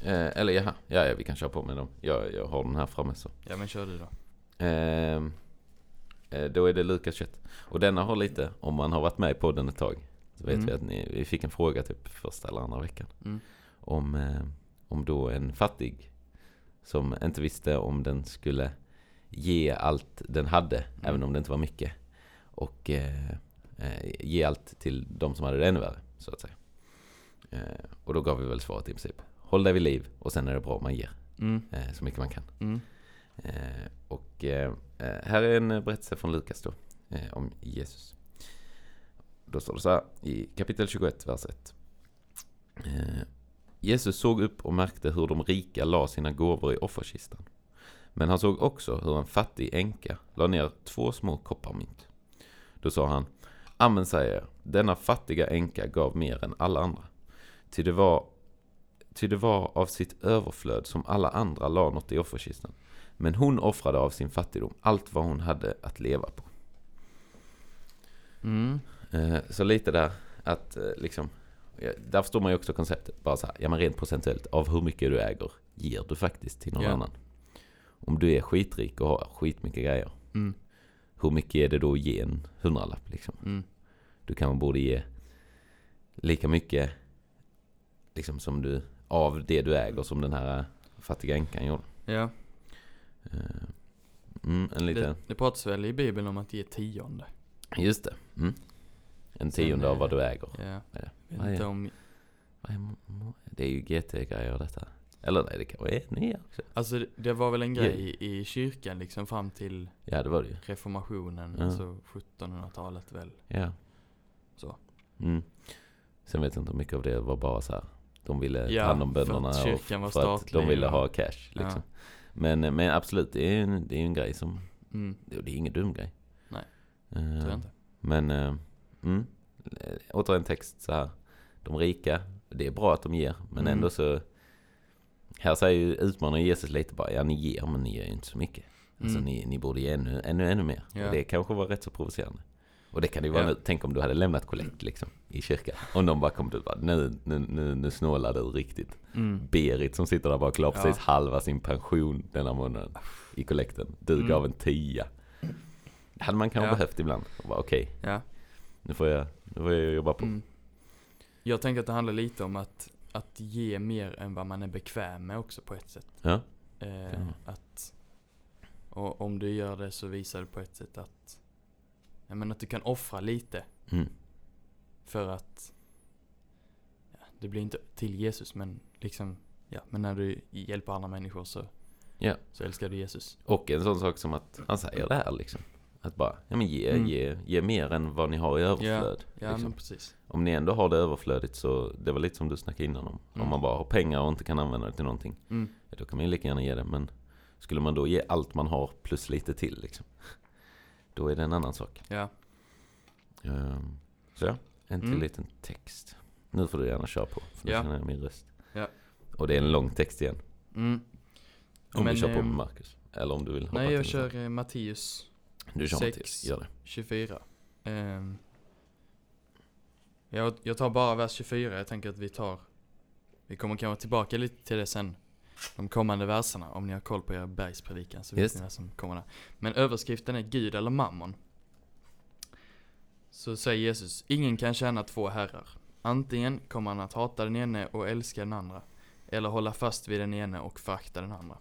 Speaker 1: Eh, eller jaha, ja, ja vi kan köra på med dem. Jag, jag har den här framme så.
Speaker 2: Ja men kör du då.
Speaker 1: Ehm, Eh, Då är det Lukas kött. Och denna har lite, om man har varit med i podden ett tag, så vet
Speaker 2: Mm.
Speaker 1: vi att ni, vi fick en fråga typ första eller andra veckan.
Speaker 2: Mm.
Speaker 1: Om, eh, om då en fattig som inte visste om den skulle ge allt den hade, även om det inte var mycket. Och eh, eh, ge allt till de som hade det ännu värre, så att säga. Eh, och då gav vi väl svaret i princip. Håll dig vid liv och sen är det bra om man ger
Speaker 2: Mm.
Speaker 1: eh, så mycket man kan.
Speaker 2: Mm.
Speaker 1: Eh, och eh, eh, här är en berättelse från Lukas då, eh, om Jesus. Då står det så här i kapitel 21, vers 1. Eh, Jesus såg upp och märkte hur de rika la sina gåvor i offerkistan. Men han såg också hur en fattig änka la ner två små kopparmynt. Då sa han, Amen säger jag, denna fattiga änka gav mer än alla andra. Ty det var, ty det var av sitt överflöd som alla andra la något i offerkistan. Men hon offrade av sin fattigdom allt vad hon hade att leva på.
Speaker 2: Mm.
Speaker 1: Eh, Så lite där att eh, liksom... ja, Där förstår man ju också konceptet. Bara så här, ja men rent procentuellt, av hur mycket du äger ger du faktiskt till någon
Speaker 2: Ja.
Speaker 1: annan. Om du är skitrik och har skitmycket grejer,
Speaker 2: Mm.
Speaker 1: hur mycket är det då att ge en hundralapp liksom?
Speaker 2: Mm.
Speaker 1: Du kanske borde ge lika mycket liksom som du, av det du äger som den här eh, fattiga änkan gjorde.
Speaker 2: Ja,
Speaker 1: Eh, Mm, en liten...
Speaker 2: det, det pratas väl i Bibeln om att ge tionde.
Speaker 1: Just det. Mm. En
Speaker 2: Sen,
Speaker 1: tionde av
Speaker 2: eh,
Speaker 1: vad du äger.
Speaker 2: Ja.
Speaker 1: Vad är
Speaker 2: Vet
Speaker 1: Vad är
Speaker 2: inte
Speaker 1: det?
Speaker 2: om...
Speaker 1: Vad är mo- mo- Det är ju GT-grejer detta. Eller nej, det kanske är nya också.
Speaker 2: Alltså det- det var väl en grej i, i kyrkan liksom fram till
Speaker 1: Ja, det var det ju.
Speaker 2: reformationen,
Speaker 1: Ja.
Speaker 2: alltså 1700-talet väl.
Speaker 1: Ja.
Speaker 2: Så.
Speaker 1: Mm. Sen vet jag inte hur mycket av det var bara så här. De ville
Speaker 2: Ja,
Speaker 1: ta hand om
Speaker 2: för att
Speaker 1: bönderna och
Speaker 2: kyrkan var
Speaker 1: för att de
Speaker 2: statlig
Speaker 1: ville
Speaker 2: och-
Speaker 1: ha cash. Liksom. Men, men absolut, det är ju en, det är ju en grej som...
Speaker 2: Mm.
Speaker 1: Det är ingen dum grej.
Speaker 2: Nej,
Speaker 1: Eh,
Speaker 2: Tror jag inte.
Speaker 1: Men, eh, mm. Eh, Återigen text så här. De rika, det är bra att de ger, men
Speaker 2: Mm.
Speaker 1: ändå så... Här säger ju utmanar Jesus lite bara, ja ni ger, men ni ger ju inte så mycket. Alltså
Speaker 2: Mm.
Speaker 1: ni, ni borde ge ännu, ännu, ännu mer.
Speaker 2: Ja.
Speaker 1: Och det kanske var rätt så provocerande. Och det kan det ju vara
Speaker 2: Ja. Mm.
Speaker 1: nu. Tänk om du hade lämnat kollekt liksom, i kyrkan. Om någon bara kom ut och bara, nu, nu, nu, nu snålar du riktigt.
Speaker 2: Mm.
Speaker 1: Berit som sitter där bak la
Speaker 2: Ja.
Speaker 1: precis halva sin pension denna månaden i kollekten. Du
Speaker 2: Mm.
Speaker 1: gav en tia. Det hade man kanske
Speaker 2: Ja.
Speaker 1: behövt ibland. Och bara, Okej,
Speaker 2: Ja.
Speaker 1: nu får jag, nu får jag jobba på.
Speaker 2: Mm. Jag tänker att det handlar lite om att, att ge mer än vad man är bekväm med också på ett sätt.
Speaker 1: Ja.
Speaker 2: Eh,
Speaker 1: Ja.
Speaker 2: Att och om du gör det så visar det på ett sätt att ja, men att du kan offra lite
Speaker 1: Mm.
Speaker 2: för att ja, det blir inte till Jesus men liksom ja, men när du hjälper andra människor så
Speaker 1: Ja.
Speaker 2: så älskar du Jesus.
Speaker 1: Och en sån sak som att han säger det här liksom. Att bara, ja men ge,
Speaker 2: Mm.
Speaker 1: ge, ge mer än vad ni har i överflöd.
Speaker 2: Ja,
Speaker 1: liksom.
Speaker 2: men precis.
Speaker 1: Om ni ändå har det överflödigt så, det var lite som du snackade innan om.
Speaker 2: Mm.
Speaker 1: Om man bara har pengar och inte kan använda det till någonting,
Speaker 2: Mm.
Speaker 1: ja, då kan man ju lika gärna ge det. Men skulle man då ge allt man har plus lite till liksom, då är det en annan sak.
Speaker 2: Ja.
Speaker 1: Ehm, så ja, en till
Speaker 2: Mm.
Speaker 1: liten text. Nu får du gärna köra på, för nu
Speaker 2: Ja.
Speaker 1: känner jag min röst.
Speaker 2: Ja.
Speaker 1: Och det är en lång text igen.
Speaker 2: Mm.
Speaker 1: Om
Speaker 2: Men,
Speaker 1: vi kör på
Speaker 2: ehm,
Speaker 1: med Marcus. Eller om du vill hoppa
Speaker 2: Nej, jag
Speaker 1: till-
Speaker 2: kör eh, Matteus
Speaker 1: Du kör
Speaker 2: sex.
Speaker 1: Mattias, gör det.
Speaker 2: 24. Ehm, jag, jag tar bara vers 24. Jag tänker att vi tar... Vi kommer kanske tillbaka lite till det sen. De kommande verserna. Om ni har koll på er bergspredikan så vet
Speaker 1: Just.
Speaker 2: ni vad som kommer där. Men överskriften är Gud eller mammon. Så säger Jesus, ingen kan tjäna två herrar. Antingen kommer han att hata den ene och älska den andra. Eller hålla fast vid den ene och förakta den andra.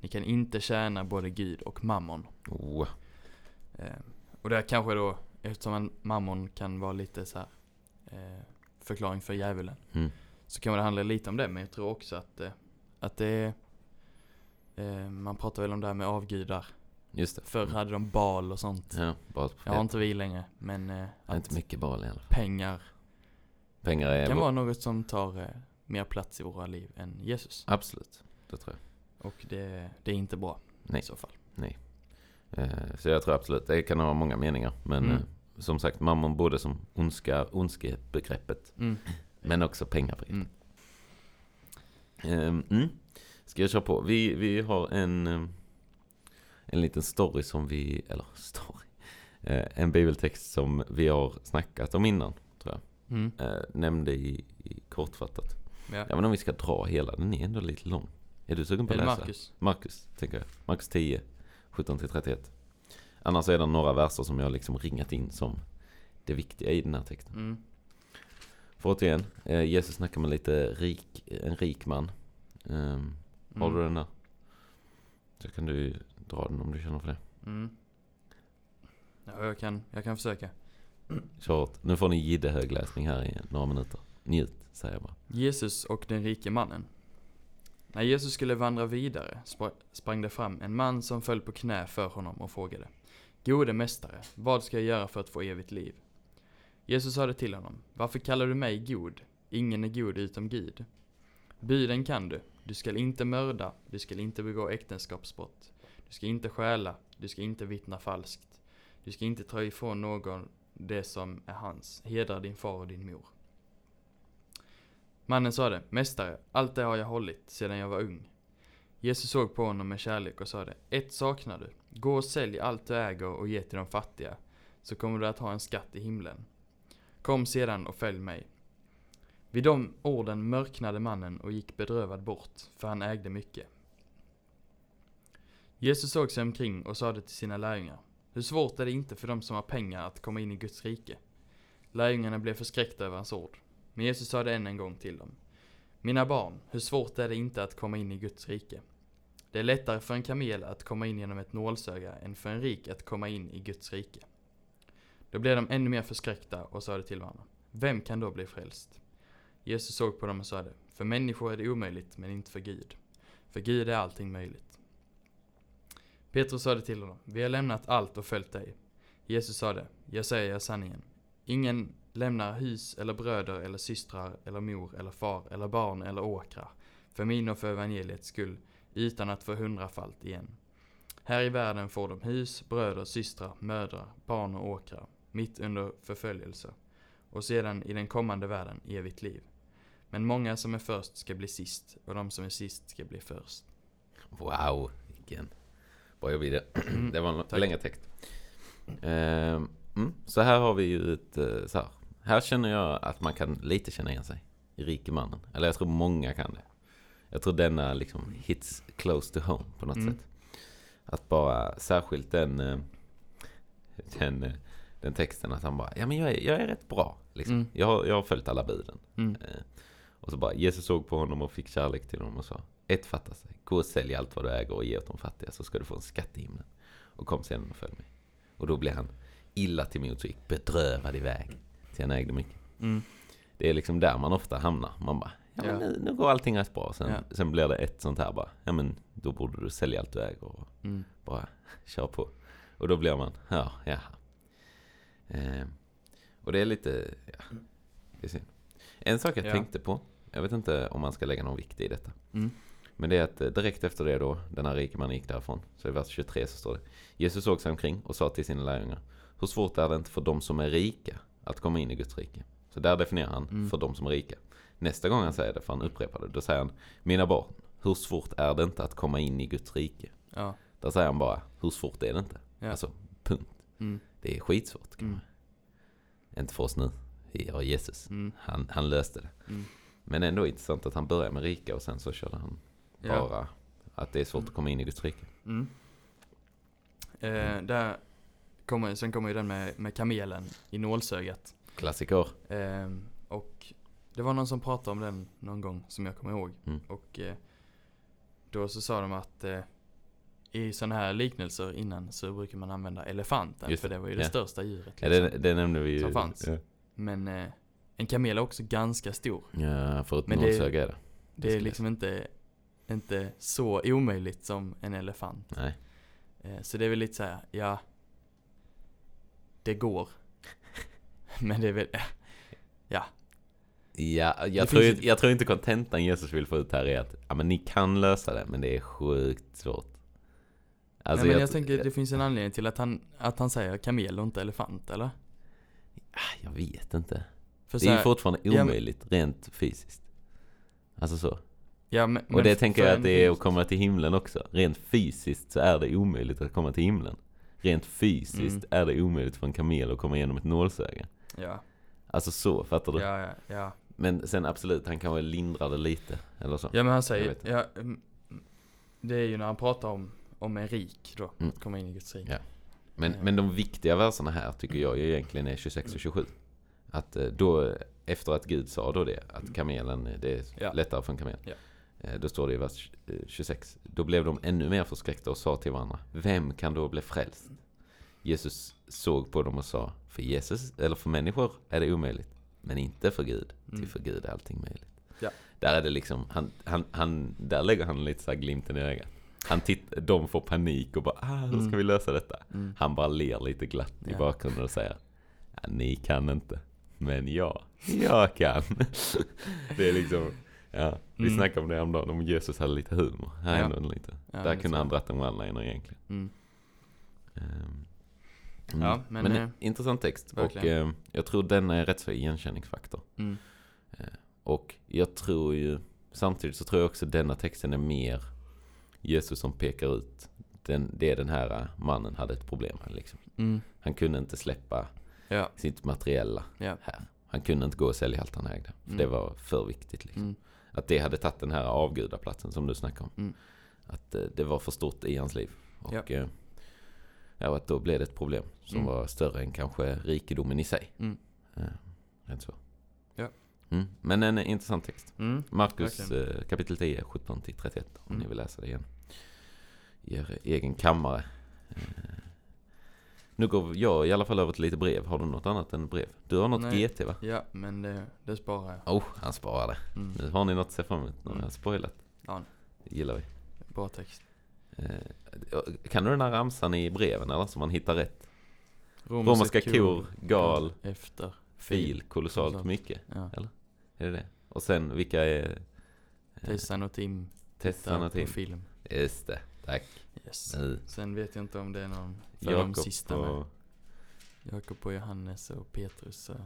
Speaker 2: Ni kan inte tjäna både Gud och mammon.
Speaker 1: Oh,
Speaker 2: Eh, och där kanske då, eftersom en mammon kan vara lite så här eh, förklaring för djävulen.
Speaker 1: Mm.
Speaker 2: Så kan det handla lite om det, men jag tror också att, eh, att det är eh, man pratar väl om det här med avgudar.
Speaker 1: just det.
Speaker 2: Förr hade de bal och sånt.
Speaker 1: Mm. Ja, bara
Speaker 2: Jag har inte vi längre, men eh,
Speaker 1: Det är inte
Speaker 2: att
Speaker 1: mycket bal i alla fall.
Speaker 2: pengar
Speaker 1: Pengar är...
Speaker 2: kan vara något som tar eh, mer plats i våra liv än Jesus.
Speaker 1: Absolut, det tror jag.
Speaker 2: Och det, det är inte bra
Speaker 1: Nej.
Speaker 2: i så fall.
Speaker 1: Eh, Så jag tror absolut, det kan ha många meningar. Men
Speaker 2: Mm.
Speaker 1: eh, som sagt, mammon både som ondska, ondskebegreppet,
Speaker 2: Mm.
Speaker 1: men också pengabegreppet.
Speaker 2: Mm.
Speaker 1: Mm. Mm. Ska jag köra på? Vi, vi har en, eh, en liten story som vi, eller story, Eh, en bibeltext som vi har snackat om innan.
Speaker 2: Mm.
Speaker 1: Eh, Nämnde i, i kortfattat.
Speaker 2: Ja.
Speaker 1: Jag vet inte om vi ska dra hela, den är ändå lite lång. Är du sugen på
Speaker 2: Är
Speaker 1: att
Speaker 2: det
Speaker 1: läsa?
Speaker 2: Marcus?
Speaker 1: Marcus, tänker jag. Marcus 10, 17 till 31. Annars är det några verser som jag liksom ringat in som det viktiga i den här texten.
Speaker 2: Mm.
Speaker 1: För återigen, eh, Jesus snackar med lite rik, en rik man. Ehm, Har
Speaker 2: Mm.
Speaker 1: du den där? Så kan du ju dra den om du känner för det.
Speaker 2: Mm. Ja, jag kan, jag kan försöka.
Speaker 1: Kört. Nu får ni jiddehögläsning här i några minuter. Njut, säger jag bara.
Speaker 2: Jesus och den rike mannen. När Jesus skulle vandra vidare spra- sprang det fram en man som föll på knä för honom och frågade Gode mästare, vad ska jag göra för att få evigt liv? Jesus sade till honom Varför kallar du mig god? Ingen är god utom Gud. Buden kan du. Du skall inte mörda, du skall inte begå äktenskapsbrott. Du ska inte stjäla, du ska inte vittna falskt. Du ska inte ta ifrån någon det som är hans. Hedra din far och din mor. Mannen sade, Mästare, allt det har jag hållit sedan jag var ung. Jesus såg på honom med kärlek och sade, Ett saknar du. Gå och sälj allt du äger och ge till de fattiga, så kommer du att ha en skatt i himlen. Kom sedan och följ mig. Vid de orden mörknade mannen och gick bedrövad bort, för han ägde mycket. Jesus såg sig omkring och sade till sina lärjungar, Hur svårt är det inte för dem som har pengar att komma in i Guds rike? Lärjungarna blev förskräckta över hans ord. Men Jesus sade än en gång till dem. Mina barn, hur svårt är det inte att komma in i Guds rike? Det är lättare för en kamel att komma in genom ett nålsöga än för en rik att komma in i Guds rike. Då blev de ännu mer förskräckta och sade till varandra. Vem kan då bli frälst? Jesus såg på dem och sade. För människor är det omöjligt, men inte för Gud. För Gud är allting möjligt. Petrus sade till honom. Vi har lämnat allt och följt dig. Jesus sade. Jag säger er sanningen. Ingen lämnar hus eller bröder eller systrar eller mor eller far eller barn eller åkrar för min och för evangeliets skull utan att få hundrafalt igen. Här i världen får de hus, bröder, systrar, mödrar, barn och åkrar mitt under förföljelse och sedan i den kommande världen evigt liv. Men många som är först ska bli sist och de som är sist ska bli först.
Speaker 1: Wow, vilken bra jobb i det. Det var en
Speaker 2: Mm, Tack.
Speaker 1: längre text. Ehm, mm, så här har vi ju ett eh, så här. Här känner jag att man kan lite känna igen sig i rikemannen. Eller jag tror många kan det. Jag tror denna liksom hits close to home på något
Speaker 2: Mm.
Speaker 1: sätt. Att bara särskilt den, eh, den, eh, den texten att han bara, ja men jag är, jag är rätt bra. Liksom.
Speaker 2: Mm.
Speaker 1: Jag, har- jag har följt alla buden.
Speaker 2: Mm.
Speaker 1: Eh, Och så bara, Jesus såg på honom och fick kärlek till honom och sa Ett fattas dig, gå och sälj allt vad du äger och ge åt de fattiga så ska du få en skatt i himlen. Och kom sen och följ mig. Och då blev han illa till mods och gick bedrövad iväg. Till han ägde mycket.
Speaker 2: Mm.
Speaker 1: Det är liksom där man ofta hamnar. Man bara, ja men
Speaker 2: Ja.
Speaker 1: nu, nu går allting rätt bra. Sen,
Speaker 2: Ja.
Speaker 1: sen blir det ett sånt här bara, ja men då borde du sälja allt du äger och
Speaker 2: Mm.
Speaker 1: bara kör på. Och då blir man, ja, jaha. Eh, och det är lite, ja, det är synd. En sak jag
Speaker 2: Ja.
Speaker 1: tänkte på, jag vet inte om man ska lägga någon vikt i detta.
Speaker 2: Mm.
Speaker 1: Men det är att eh, direkt efter det då, den här rike mannen gick därifrån, så i vers 23 så står det. Jesus såg sig omkring och sa till sina lärjungar, hur svårt är det inte för de som är rika att komma in i Guds rike? Så där definierar han,
Speaker 2: Mm.
Speaker 1: för de som är rika. Nästa gång han säger det, för han upprepar det, då säger han, mina barn, hur svårt är det inte att komma in i Guds rike?
Speaker 2: Ja.
Speaker 1: Där säger han bara, hur svårt är det inte?
Speaker 2: Ja.
Speaker 1: Alltså, punkt.
Speaker 2: Mm.
Speaker 1: Det är skitsvårt. Kan
Speaker 2: Mm.
Speaker 1: man- Inte för oss nu. Vi har Jesus.
Speaker 2: Mm.
Speaker 1: Han, han löste det.
Speaker 2: Mm.
Speaker 1: Men ändå intressant att han började med rika och sen så körde han
Speaker 2: Ja.
Speaker 1: bara att det är svårt att komma in i Guds rike.
Speaker 2: Mm. Eh, där kommer, sen kommer ju den med, med kamelen i nålsögat.
Speaker 1: Klassiker.
Speaker 2: Ehm, och det var någon som pratade om den någon gång som jag kommer ihåg.
Speaker 1: Mm.
Speaker 2: Och eh, då så sa de att eh, i sådana här liknelser innan så brukar man använda elefanten.
Speaker 1: Just
Speaker 2: för
Speaker 1: det,
Speaker 2: det var ju det
Speaker 1: ja.
Speaker 2: största djuret.
Speaker 1: Ja,
Speaker 2: liksom.
Speaker 1: det, det nämnde vi ju.
Speaker 2: Som fanns.
Speaker 1: Ja.
Speaker 2: Men eh, en kamel är också ganska stor.
Speaker 1: Ja, för ett
Speaker 2: Men det-
Speaker 1: nålsöga är det.
Speaker 2: Det är
Speaker 1: skulle
Speaker 2: liksom inte, inte så omöjligt som en elefant.
Speaker 1: Nej.
Speaker 2: Eh, så det är väl lite så här, ja. Det går. Men det är väl,
Speaker 1: Ja, jag,
Speaker 2: Det
Speaker 1: tror,
Speaker 2: finns
Speaker 1: ju- jag tror inte kontentan Jesus vill få ut här är att ja, men ni kan lösa det, men det är sjukt svårt. Alltså,
Speaker 2: nej, men jag,
Speaker 1: t-
Speaker 2: tänker det finns en anledning till att han, att han säger kamel och inte elefant eller?
Speaker 1: ah, jag vet inte.
Speaker 2: För
Speaker 1: Det
Speaker 2: så
Speaker 1: är
Speaker 2: här-
Speaker 1: ju fortfarande
Speaker 2: ja, men-
Speaker 1: omöjligt rent fysiskt. Alltså så.
Speaker 2: Ja, men,
Speaker 1: Och det
Speaker 2: men
Speaker 1: tänker
Speaker 2: för
Speaker 1: jag att
Speaker 2: en
Speaker 1: det är
Speaker 2: hus-
Speaker 1: att komma till himlen också. Rent fysiskt så är det omöjligt att komma till himlen. Rent fysiskt
Speaker 2: Mm.
Speaker 1: är det omöjligt för en kamel att komma igenom ett nålsöga.
Speaker 2: Ja,
Speaker 1: Alltså så, fattar du?
Speaker 2: ja, ja, ja.
Speaker 1: Men sen absolut, han kanske lindrar det lite. Eller så.
Speaker 2: ja men han
Speaker 1: Jag
Speaker 2: säger,
Speaker 1: vet
Speaker 2: ja, mm, det är ju när han pratar om, om en rik då,
Speaker 1: Mm.
Speaker 2: att komma in i Guds rike.
Speaker 1: Ja. Men,
Speaker 2: Ja.
Speaker 1: men de viktiga verserna här tycker jag ju egentligen är 26 och 27. Att eh, då, efter att Gud sa då det, att kamelen, eh, det är
Speaker 2: Ja.
Speaker 1: lättare för en kamel.
Speaker 2: Ja.
Speaker 1: Eh, Då står det i vers eh, 26. Då blev de ännu mer förskräckta och sa till varandra, vem kan då bli frälst? Jesus såg på dem och sa, för Jesus, eller för människor är det omöjligt, men inte för Gud. Till
Speaker 2: Mm.
Speaker 1: för Gud är allting möjligt.
Speaker 2: Ja.
Speaker 1: Där är det liksom, han, han, han, där lägger han lite så här glimten i ögat. Han titt, de får panik och bara, ah, hur ska
Speaker 2: Mm.
Speaker 1: vi lösa detta?
Speaker 2: Mm.
Speaker 1: Han bara ler lite glatt i
Speaker 2: Ja.
Speaker 1: bakgrunden och säger ja, Ni kan inte, men jag, jag kan. det är liksom, ja, vi
Speaker 2: Mm.
Speaker 1: snackade om det häromdagen, om Jesus hade lite humor. Här är
Speaker 2: Ja.
Speaker 1: ändå lite.
Speaker 2: Ja,
Speaker 1: Där
Speaker 2: men
Speaker 1: kunde
Speaker 2: så-
Speaker 1: han dratt en one-liner egentligen.
Speaker 2: Mm.
Speaker 1: Ehm,
Speaker 2: Ja, men,
Speaker 1: men
Speaker 2: eh,
Speaker 1: intressant text och
Speaker 2: verkligen.
Speaker 1: ehm, jag tror den är rätt så igenkänningsfaktor.
Speaker 2: Mm.
Speaker 1: Och jag tror ju, samtidigt så tror jag också denna texten är mer Jesus som pekar ut den, det den här eh, mannen hade ett problem med. Liksom.
Speaker 2: Mm.
Speaker 1: Han kunde inte släppa
Speaker 2: Ja.
Speaker 1: sitt materiella
Speaker 2: Ja.
Speaker 1: här. Han kunde inte gå och sälja allt han ägde. För
Speaker 2: Mm.
Speaker 1: Det var för viktigt. Liksom.
Speaker 2: Mm.
Speaker 1: Att det hade tagit den här avgudaplatsen som du snackade om.
Speaker 2: Mm.
Speaker 1: Att eh, det var för stort i hans liv. Och,
Speaker 2: Ja.
Speaker 1: eh, ja, och att då blev det ett problem som
Speaker 2: Mm.
Speaker 1: var större än kanske rikedomen i sig.
Speaker 2: Mm.
Speaker 1: Eh, Rent så.
Speaker 2: Ja.
Speaker 1: Mm. Men en eh, intressant text.
Speaker 2: Mm.
Speaker 1: Markus eh, kapitel 10, 17 till 31 om
Speaker 2: Mm.
Speaker 1: ni vill läsa det igen. I er egen kammare. Eh, Nu går jag i alla fall över till lite brev. Har du något annat än brev? Du har något
Speaker 2: Nej.
Speaker 1: GT va?
Speaker 2: Ja, men det, det sparar jag.
Speaker 1: Oh, han sparar det.
Speaker 2: Mm.
Speaker 1: Nu har ni något att se fram emot. Nu har
Speaker 2: Mm.
Speaker 1: jag spoilat.
Speaker 2: Ja.
Speaker 1: Det gillar vi.
Speaker 2: Bra text.
Speaker 1: Eh, Kan du den här ramsan i breven eller? Så man hittar rätt.
Speaker 2: Romerska,
Speaker 1: Romerska kor, gal,
Speaker 2: Efter.
Speaker 1: fil, kolossalt
Speaker 2: Kolossalt.
Speaker 1: mycket.
Speaker 2: Ja.
Speaker 1: Är det det? Och sen vilka är... eh,
Speaker 2: Tessan och Tim.
Speaker 1: Tessan och
Speaker 2: tittar på
Speaker 1: Tim.
Speaker 2: film.
Speaker 1: Just det. Tack.
Speaker 2: Yes.
Speaker 1: Nu.
Speaker 2: Sen vet jag inte om det är någon för de
Speaker 1: Jakob
Speaker 2: sista
Speaker 1: och-
Speaker 2: med. Jakob och Johannes och Petrus och...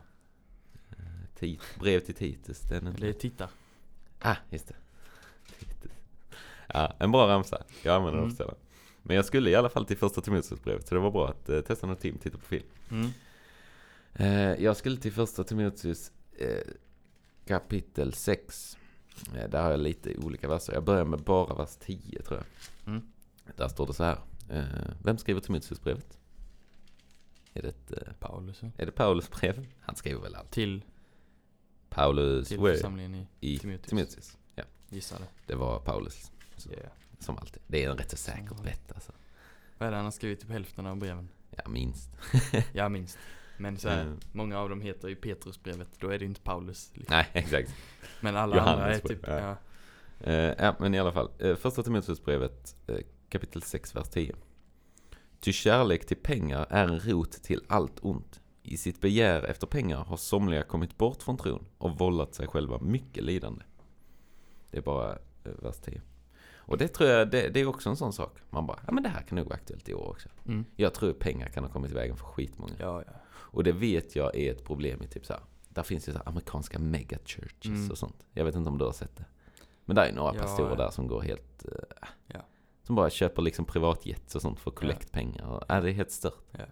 Speaker 1: Tit, brev till Titus. Den är inte-
Speaker 2: Eller tittar.
Speaker 1: Ah, just det. Titus. Ja, en bra ramsa. Jag använder den
Speaker 2: Mm.
Speaker 1: ofta. sällan. Men jag skulle i alla fall till första Timoteusbrevet, så det var bra att eh, Tessan och Tim tittar på film.
Speaker 2: Mm.
Speaker 1: Eh, jag skulle till första Timoteus eh, kapitel 6. Eh, där har jag lite olika verser. Jag börjar med bara vers 10 tror jag.
Speaker 2: Mm.
Speaker 1: Där står det så här. Eh, vem skriver Timoteusbrevet? Är det, ett, eh,
Speaker 2: Paulus. ja.
Speaker 1: är det Paulus brev? Han skriver väl allt.
Speaker 2: Till,
Speaker 1: Paulus
Speaker 2: till
Speaker 1: brev
Speaker 2: församlingen i
Speaker 1: i
Speaker 2: Timoteus.
Speaker 1: Timoteus. Ja,
Speaker 2: Gissade.
Speaker 1: det var Paulus. Så.
Speaker 2: Yeah.
Speaker 1: Som alltid. Det är en rätt så säker
Speaker 2: vanligt.
Speaker 1: bett alltså.
Speaker 2: Vad är det han har skrivit? Typ hälften av breven.
Speaker 1: Ja, minst.
Speaker 2: Jag minst. Men så här,
Speaker 1: Mm.
Speaker 2: många av dem heter ju Petrusbrevet. Då är det ju inte Paulus. Liksom.
Speaker 1: Nej, exakt.
Speaker 2: Men alla
Speaker 1: Johannes
Speaker 2: andra är
Speaker 1: brev,
Speaker 2: typ...
Speaker 1: ja.
Speaker 2: Ja.
Speaker 1: Eh, ja, men i alla fall. Eh, första Timoteusbrevet eh, kapitel 6, vers 10. Ty kärlek till pengar är en rot till allt ont. I sitt begär efter pengar har somliga kommit bort från tron och vållat sig själva mycket lidande. Det är bara eh, vers 10. Och det tror jag, det, det är också en sån sak. Man bara, ja men det här kan nog vara aktuellt i år också.
Speaker 2: Mm.
Speaker 1: Jag tror pengar kan ha kommit i vägen för skitmånga.
Speaker 2: ja, ja.
Speaker 1: Och det vet jag är ett problem i typ så här. Där finns ju så här amerikanska megachurches
Speaker 2: Mm.
Speaker 1: och sånt. Jag vet inte om du har sett det. Men där är några
Speaker 2: Ja,
Speaker 1: pastorer
Speaker 2: ja.
Speaker 1: där som går helt... eh,
Speaker 2: Ja.
Speaker 1: Som bara köper liksom privatjets och sånt för kollektpengar. Och, ja, det är helt stört.
Speaker 2: Ja.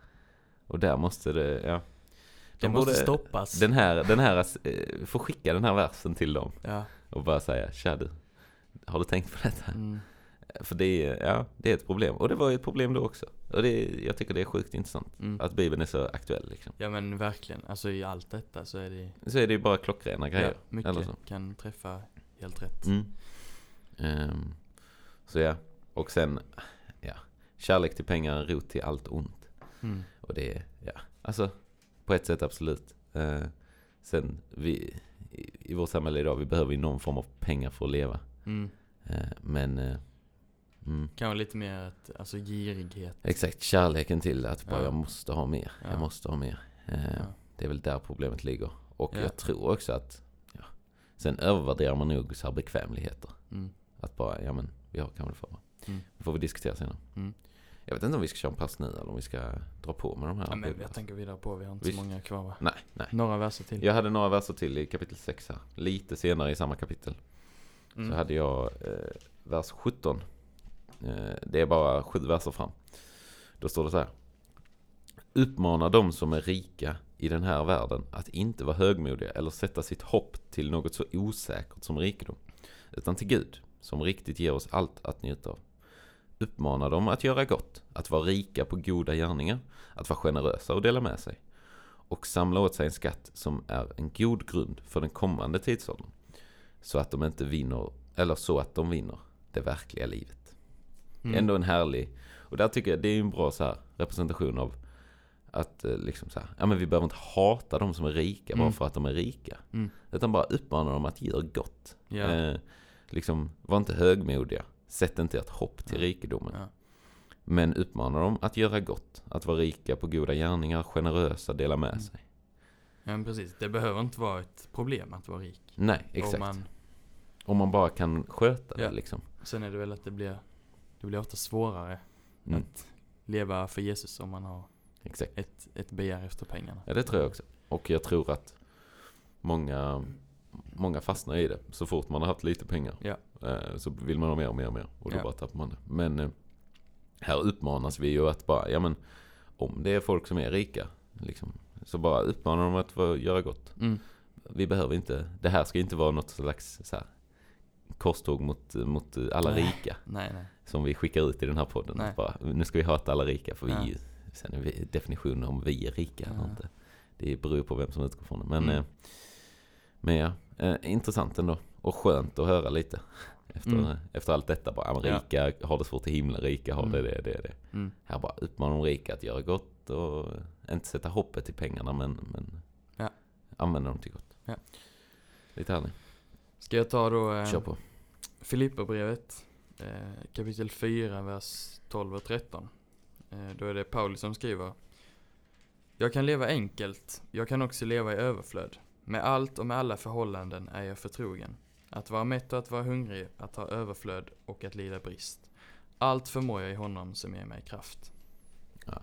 Speaker 1: Och där måste det... Ja.
Speaker 2: Det
Speaker 1: De
Speaker 2: måste
Speaker 1: borde-
Speaker 2: stoppas.
Speaker 1: Den här, den här, eh, får skicka den här versen till dem
Speaker 2: Ja.
Speaker 1: och bara säga Tja du, har du tänkt på detta?
Speaker 2: Mm.
Speaker 1: För det är, ja, det är ett problem. Och det var ju ett problem då också. Och det, är- jag tycker det är sjukt intressant.
Speaker 2: Mm.
Speaker 1: Att Bibeln är så aktuell liksom.
Speaker 2: Ja men verkligen. Alltså i allt detta så är det...
Speaker 1: Så är det ju bara klockrena grejer.
Speaker 2: Ja, mycket
Speaker 1: eller så.
Speaker 2: kan träffa helt rätt.
Speaker 1: Mm. Ehm, så ja, och sen, ja. Kärlek till pengar är en rot till allt ont.
Speaker 2: Mm.
Speaker 1: Och det är, ja, alltså på ett sätt absolut. Eh, sen, vi, i, i vårt samhälle idag, vi behöver ju någon form av pengar för att leva.
Speaker 2: Mm.
Speaker 1: Eh, men, eh, mm,
Speaker 2: Kanske lite mer att, alltså girighet.
Speaker 1: exakt, kärleken till att bara
Speaker 2: Ja.
Speaker 1: jag måste ha mer,
Speaker 2: Ja.
Speaker 1: jag måste ha mer. Eh,
Speaker 2: Ja.
Speaker 1: Det är väl där problemet ligger. Och
Speaker 2: Ja.
Speaker 1: jag tror också att, ja, sen övervärderar man nog så här bekvämligheter.
Speaker 2: Mm.
Speaker 1: Att bara, ja men vi har kanske för
Speaker 2: Mm.
Speaker 1: Det får vi diskutera senare.
Speaker 2: Mm.
Speaker 1: Jag vet inte om vi ska köra en pass nu eller om vi ska dra på med de här.
Speaker 2: Ja, men
Speaker 1: bibblarna.
Speaker 2: jag tänker vidare på, vi har inte
Speaker 1: Vi-
Speaker 2: så många kvar va?
Speaker 1: Nej, nej.
Speaker 2: Några verser till.
Speaker 1: Jag hade några verser till i kapitel 6 här. Lite senare i samma kapitel.
Speaker 2: Mm.
Speaker 1: Så hade jag eh, vers 17. Eh, det är bara sju verser fram. Då står det så här. Uppmana de som är rika i den här världen att inte vara högmodiga eller sätta sitt hopp till något så osäkert som rikedom. Utan till Gud som riktigt ger oss allt att njuta av. uppmanar dem att göra gott, att vara rika på goda gärningar, att vara generösa och dela med sig. Och samla åt sig en skatt som är en god grund för den kommande tidsåldern. Så att de inte vinner, eller så att de vinner det verkliga livet.
Speaker 2: Mm.
Speaker 1: Det är Ändå en härlig, och där tycker jag det är ju en bra så här, representation av att eh, liksom så här, ja men vi behöver inte hata de som är rika bara
Speaker 2: Mm.
Speaker 1: för att de är rika.
Speaker 2: Mm.
Speaker 1: Utan bara uppmana dem att göra gott.
Speaker 2: Ja.
Speaker 1: Eh, liksom, var inte högmodiga. Sätt inte ert hopp till
Speaker 2: Ja.
Speaker 1: rikedomen.
Speaker 2: Ja.
Speaker 1: Men uppmana dem att göra gott. Att vara rika på goda gärningar, generösa, dela med
Speaker 2: Mm.
Speaker 1: sig.
Speaker 2: ja, men precis. Det behöver inte vara ett problem att vara rik.
Speaker 1: Nej,
Speaker 2: Och
Speaker 1: exakt.
Speaker 2: man,
Speaker 1: Om man bara kan sköta det
Speaker 2: Ja.
Speaker 1: liksom.
Speaker 2: sen är det väl att det blir, det blir ofta svårare
Speaker 1: Mm.
Speaker 2: att leva för Jesus om man har
Speaker 1: Exakt.
Speaker 2: ett, ett begär efter pengarna.
Speaker 1: Ja, det tror jag också. Och jag tror att många, många fastnar i det. Så fort man har haft lite pengar
Speaker 2: Ja.
Speaker 1: eh, så vill man ha mer och mer och mer. Och då
Speaker 2: Ja.
Speaker 1: bara tappar man det. Men eh, här uppmanas vi ju att bara, ja men om det är folk som är rika, liksom, så bara uppmanar dem att vara- göra gott.
Speaker 2: Mm.
Speaker 1: Vi behöver inte, det här ska inte vara något slags så här, korståg mot, mot alla
Speaker 2: Nej.
Speaker 1: rika
Speaker 2: Nej, nej.
Speaker 1: som vi skickar ut i den här podden.
Speaker 2: Nej.
Speaker 1: Att bara, nu ska vi hata alla rika för vi är
Speaker 2: Ja.
Speaker 1: ju, sen är vi, definitionen om vi är rika eller
Speaker 2: Ja.
Speaker 1: inte. Det beror på vem som utgår från det. Men,
Speaker 2: Mm.
Speaker 1: eh, men ja, eh, intressant ändå. Och skönt att höra lite. Efter, eh,
Speaker 2: Mm.
Speaker 1: efter allt detta bara, ja, men
Speaker 2: Ja.
Speaker 1: rika har det svårt i himlen, rika har det,
Speaker 2: Mm.
Speaker 1: det, det, det.
Speaker 2: Mm.
Speaker 1: Här bara uppmanar de rika att göra gott och inte sätta hoppet till pengarna men, men
Speaker 2: Ja.
Speaker 1: använda dem till gott.
Speaker 2: Ja.
Speaker 1: Lite härligt.
Speaker 2: Ska jag ta då eh,
Speaker 1: Kör på.
Speaker 2: Filipperbrevet eh, kapitel 4, vers 12 och 13. Eh, då är det Paulus som skriver. Jag kan leva enkelt, jag kan också leva i överflöd. Med allt och med alla förhållanden är jag förtrogen. Att vara mätt och att vara hungrig, att ha överflöd och att lida brist. Allt förmår jag i honom som ger mig kraft.
Speaker 1: Ja.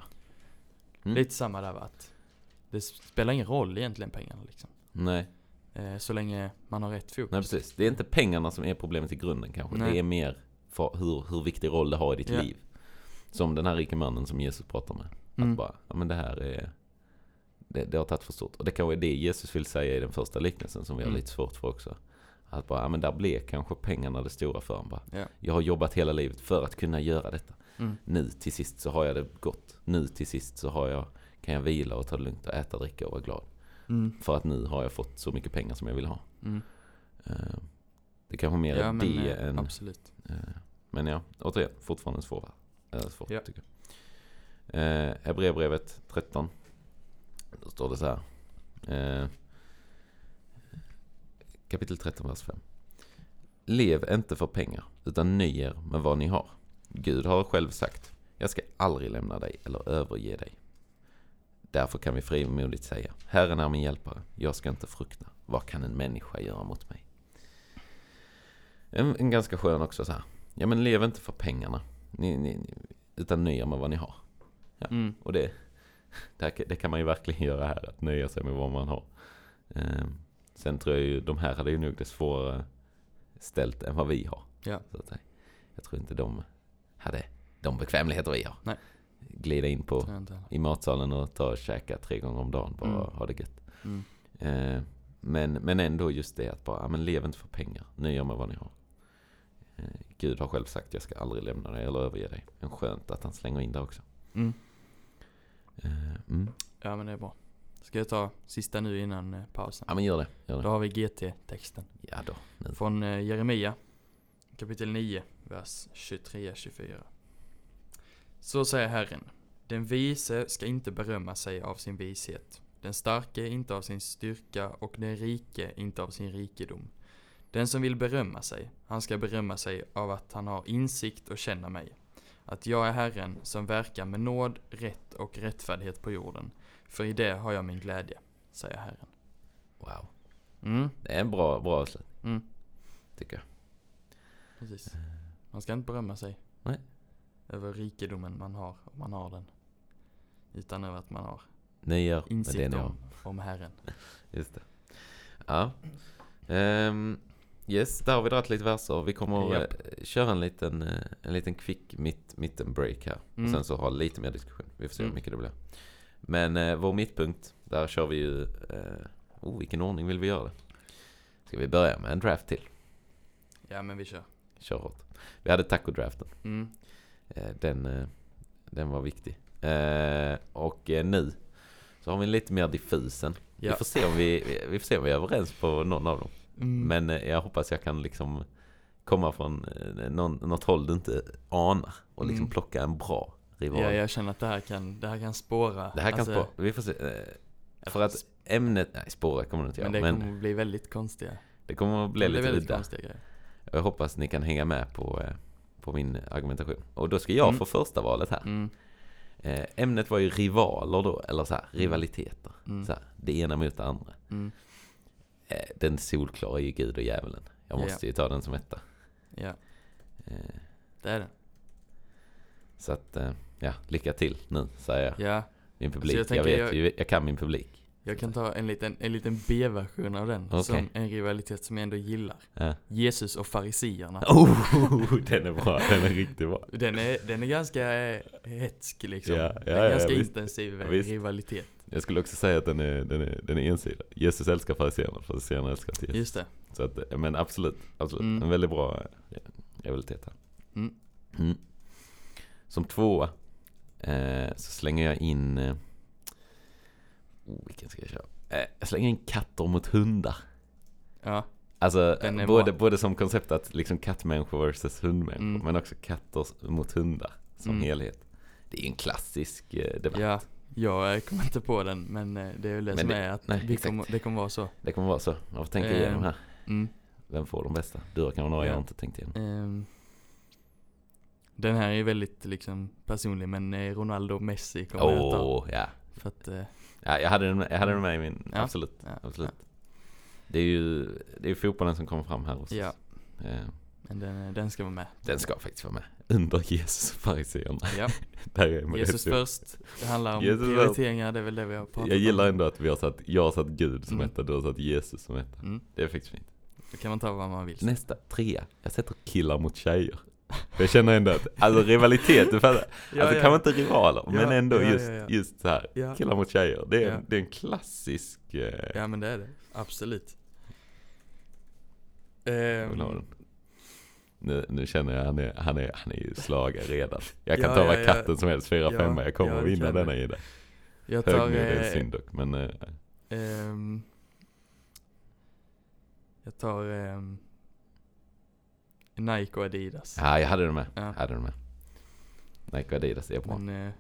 Speaker 1: Mm.
Speaker 2: Lite samma där va? Att det spelar ingen roll egentligen pengarna liksom.
Speaker 1: Nej.
Speaker 2: Eh, så länge man har rätt fokus.
Speaker 1: Nej precis, det är inte pengarna som är problemet i grunden kanske.
Speaker 2: Nej.
Speaker 1: Det är mer för hur, hur viktig roll det har i ditt
Speaker 2: Ja.
Speaker 1: liv. Som den här rike mannen som Jesus pratar med.
Speaker 2: Mm.
Speaker 1: Att bara, ja men det här är... Det, det har tagit för stort. Och det kanske är det Jesus vill säga i den första liknelsen som vi har
Speaker 2: Mm.
Speaker 1: lite svårt för också. Att bara, ja men där blev kanske pengarna det stora för honom. Bara,
Speaker 2: Ja.
Speaker 1: Jag har jobbat hela livet för att kunna göra detta.
Speaker 2: Mm.
Speaker 1: Nu till sist så har jag det gott. Nu till sist så har jag, kan jag vila och ta det lugnt och äta, dricka och vara glad.
Speaker 2: Mm.
Speaker 1: För att nu har jag fått så mycket pengar som jag vill ha.
Speaker 2: Mm.
Speaker 1: Eh, Det kanske mer
Speaker 2: Ja
Speaker 1: är
Speaker 2: men
Speaker 1: det
Speaker 2: eh,
Speaker 1: än...
Speaker 2: absolut.
Speaker 1: eh, Men ja, återigen, fortfarande svår, eh, svårt
Speaker 2: Ja.
Speaker 1: tycker jag. Eh, Hebreerbrevet 13. Då står det så här. Eh, kapitel 13, vers 5. Lev inte för pengar, utan nöj er med vad ni har. Gud har själv sagt, jag ska aldrig lämna dig eller överge dig. Därför kan vi frimodigt säga, Herren är min hjälpare, jag ska inte frukta. Vad kan en människa göra mot mig? En, en ganska skön också så här. Ja men lev inte för pengarna. Ni, ni, ni, utan nöj er med vad ni har.
Speaker 2: Mm.
Speaker 1: Och det, det, här, det kan man ju verkligen göra här. Att nöja sig med vad man har. Ehm, sen tror jag ju de här hade ju nog det svårare ställt än vad vi har.
Speaker 2: Ja.
Speaker 1: Så att säga. Jag tror inte de hade de bekvämligheter vi har.
Speaker 2: Nej.
Speaker 1: Glida in på
Speaker 2: Tror jag inte heller.
Speaker 1: i matsalen och ta och käka tre gånger om dagen. Bara
Speaker 2: Mm.
Speaker 1: ha det gött.
Speaker 2: Mm.
Speaker 1: Eh, men, men ändå just det att bara, ja, men lev inte för pengar. Nöj er med vad ni har. Eh, Gud har själv sagt, jag ska aldrig lämna dig eller överge dig. Men skönt att han slänger in det också.
Speaker 2: Mm.
Speaker 1: Eh, mm.
Speaker 2: Ja men det är bra. Ska jag ta sista nu innan eh, pausen?
Speaker 1: Ja men gör det. Gör
Speaker 2: Då
Speaker 1: det.
Speaker 2: har vi GT-texten.
Speaker 1: Ja då. Nu.
Speaker 2: Från eh, Jeremia kapitel 9, vers 23-24. Så säger Herren, den vise ska inte berömma sig av sin vishet, den starke inte av sin styrka och den rike inte av sin rikedom. Den som vill berömma sig, han ska berömma sig av att han har insikt och känner mig. Att jag är Herren som verkar med nåd, rätt och rättfärdighet på jorden, för i det har jag min glädje, säger Herren.
Speaker 1: Wow.
Speaker 2: Mm,
Speaker 1: Det är en bra, bra avslut.
Speaker 2: mm.
Speaker 1: Tycker jag.
Speaker 2: Precis. Man ska inte berömma sig.
Speaker 1: Eh. Nej.
Speaker 2: Över rikedomen man har, om man har den. Utan över att man har
Speaker 1: Nöj er med det
Speaker 2: insikt
Speaker 1: ni har.
Speaker 2: om, om Herren.
Speaker 1: Just det. Ja. Ehm, yes, där har vi dragit lite verser. Vi kommer
Speaker 2: Japp.
Speaker 1: eh, köra en liten, eh, en liten quick mitt, mitten break här. Och
Speaker 2: Mm.
Speaker 1: sen så ha lite mer diskussion. Vi får se hur
Speaker 2: Mm.
Speaker 1: mycket det blir. Men eh, vår mittpunkt, där kör vi ju... Eh, oh, vilken ordning vill vi göra det? Ska vi börja med en draft till?
Speaker 2: Ja men vi kör.
Speaker 1: Kör hårt. Vi hade taco-draften.
Speaker 2: Mm.
Speaker 1: Eh, Den, eh, den var viktig. Eh, Och eh, nu så har vi en lite mer diffusen. Vi,
Speaker 2: Ja.
Speaker 1: får se om vi, vi får se om vi är överens på någon av dem.
Speaker 2: Mm.
Speaker 1: Men eh, jag hoppas jag kan liksom komma från eh, någon, något håll du inte anar och liksom
Speaker 2: Mm.
Speaker 1: plocka en bra rival.
Speaker 2: ja, jag känner att det här kan, det här kan spåra.
Speaker 1: Det här kan
Speaker 2: Alltså,
Speaker 1: spå- Vi får se. Eh, För att ämnet... Nej, spåra kommer det inte göra.
Speaker 2: Men
Speaker 1: Men,
Speaker 2: det kommer bli väldigt konstiga.
Speaker 1: det kommer att bli
Speaker 2: Det blir
Speaker 1: lite
Speaker 2: väldigt
Speaker 1: udda.
Speaker 2: konstiga grejer.
Speaker 1: Jag hoppas ni kan hänga med på, eh, på min argumentation. Och då ska jag
Speaker 2: Mm.
Speaker 1: få första valet här.
Speaker 2: Mm.
Speaker 1: Eh, Ämnet var ju rivaler då, eller så här, rivaliteter.
Speaker 2: Mm.
Speaker 1: Så här, det ena mot det andra.
Speaker 2: Mm.
Speaker 1: Eh, Den solklara är ju Gud och djävulen. Jag
Speaker 2: Ja.
Speaker 1: måste ju ta den som etta.
Speaker 2: Ja,
Speaker 1: Eh,
Speaker 2: det är det.
Speaker 1: Så att, eh, ja, lycka till nu, säger jag.
Speaker 2: Ja. Alltså,
Speaker 1: Min publik,
Speaker 2: jag
Speaker 1: jag,
Speaker 2: tänker
Speaker 1: vet
Speaker 2: jag-
Speaker 1: ju, jag kan min publik.
Speaker 2: Jag kan ta en liten, en liten B-version av den.
Speaker 1: Okej.
Speaker 2: Som en rivalitet som jag ändå gillar.
Speaker 1: Ja.
Speaker 2: Jesus och fariseerna.
Speaker 1: Eh. Oh, den är bra, den är riktigt bra.
Speaker 2: Den, är, den är ganska eh, hätsk liksom.
Speaker 1: Ja,
Speaker 2: Det
Speaker 1: ja,
Speaker 2: är
Speaker 1: ja,
Speaker 2: en ganska
Speaker 1: visst.
Speaker 2: intensiv eh,
Speaker 1: Visst.
Speaker 2: rivalitet.
Speaker 1: Jag skulle också säga att den är, den är, den är ensidig. Jesus älskar fariséerna, fariséerna älskar inte Jesus.
Speaker 2: Just det.
Speaker 1: Så att, eh, men absolut, absolut.
Speaker 2: Mm.
Speaker 1: En väldigt bra eh, rivalitet här.
Speaker 2: Mm.
Speaker 1: Mm. Som tvåa eh, så slänger jag in... Eh, oh, vilken ska jag köra? Eh, jag slänger in katter mot hundar.
Speaker 2: Ja,
Speaker 1: Alltså
Speaker 2: Den är
Speaker 1: både,
Speaker 2: bra.
Speaker 1: både som koncept att liksom kattmänniskor versus hundmänniskor
Speaker 2: Mm.
Speaker 1: men också katter s- mot hundar som
Speaker 2: Mm.
Speaker 1: helhet. Det är ju en klassisk eh, debatt.
Speaker 2: ja. Jag eh, kommer inte på den men eh, det är väl det
Speaker 1: Men
Speaker 2: som
Speaker 1: det-
Speaker 2: är att
Speaker 1: nej,
Speaker 2: vi
Speaker 1: exakt.
Speaker 2: kommer, det kommer vara så.
Speaker 1: Det kommer vara så. Jag får tänka
Speaker 2: Eh.
Speaker 1: igenom här.
Speaker 2: Mm.
Speaker 1: Vem får de bästa? Du har kanske några jag
Speaker 2: Ja.
Speaker 1: inte tänkt igenom.
Speaker 2: Ehm. Den här är väldigt liksom personlig men eh, Ronaldo och Messi kommer
Speaker 1: Åh,
Speaker 2: jag ta.
Speaker 1: ja.
Speaker 2: För att, eh,
Speaker 1: ja. Jag hade den med, jag hade den med i min,
Speaker 2: Ja.
Speaker 1: absolut.
Speaker 2: ja,
Speaker 1: absolut. Det är ju det är ju fotbollen som kommer fram här hos
Speaker 2: Ja.
Speaker 1: oss. Eh,
Speaker 2: men den, eh, den ska vara med.
Speaker 1: Den ska faktiskt vara med. Under Jesus och fariséerna.
Speaker 2: Ja.
Speaker 1: Där är man
Speaker 2: Jesus
Speaker 1: rätt upp.
Speaker 2: först. Det handlar om
Speaker 1: Jesus först.
Speaker 2: prioriteringar, det är väl det vi har pratat om.
Speaker 1: Jag gillar ändå att vi har satt, jag har satt Gud som
Speaker 2: Mm.
Speaker 1: etta, du har satt Jesus som etta.
Speaker 2: Mm.
Speaker 1: Det är faktiskt fint.
Speaker 2: Då kan man ta vad man vill.
Speaker 1: Nästa, trea. Jag sätter killar mot tjejer. För Jag känner ändå att, alltså rivalitet, du fattar.
Speaker 2: Ja,
Speaker 1: alltså
Speaker 2: ja.
Speaker 1: kanske inte rivaler,
Speaker 2: Ja,
Speaker 1: men ändå
Speaker 2: ja, ja,
Speaker 1: just,
Speaker 2: ja.
Speaker 1: just så här.
Speaker 2: Ja.
Speaker 1: Killar mot tjejer, det är,
Speaker 2: Ja.
Speaker 1: en, det är en klassisk... Eh,
Speaker 2: ja, men det är det. Absolut.
Speaker 1: jag vill ha den.
Speaker 2: Ehm,
Speaker 1: Nu, nu känner jag, han är, han är, han är ju slagare redan. Jag kan
Speaker 2: Ja,
Speaker 1: ta
Speaker 2: ja,
Speaker 1: vad
Speaker 2: ja.
Speaker 1: katten som helst, fyra
Speaker 2: Ja,
Speaker 1: femma. Jag kommer
Speaker 2: ja,
Speaker 1: att
Speaker 2: det
Speaker 1: vinna
Speaker 2: kan
Speaker 1: denna
Speaker 2: du.
Speaker 1: Ida.
Speaker 2: jag tar...
Speaker 1: Hög nu, det är
Speaker 2: Eh,
Speaker 1: synd dock, men... Eh,
Speaker 2: ehm, jag tar... ehm, Nike och Adidas.
Speaker 1: ja, jag hade det med.
Speaker 2: Ja.
Speaker 1: Jag hade det med. Nike och Adidas är bra.
Speaker 2: Men, eh,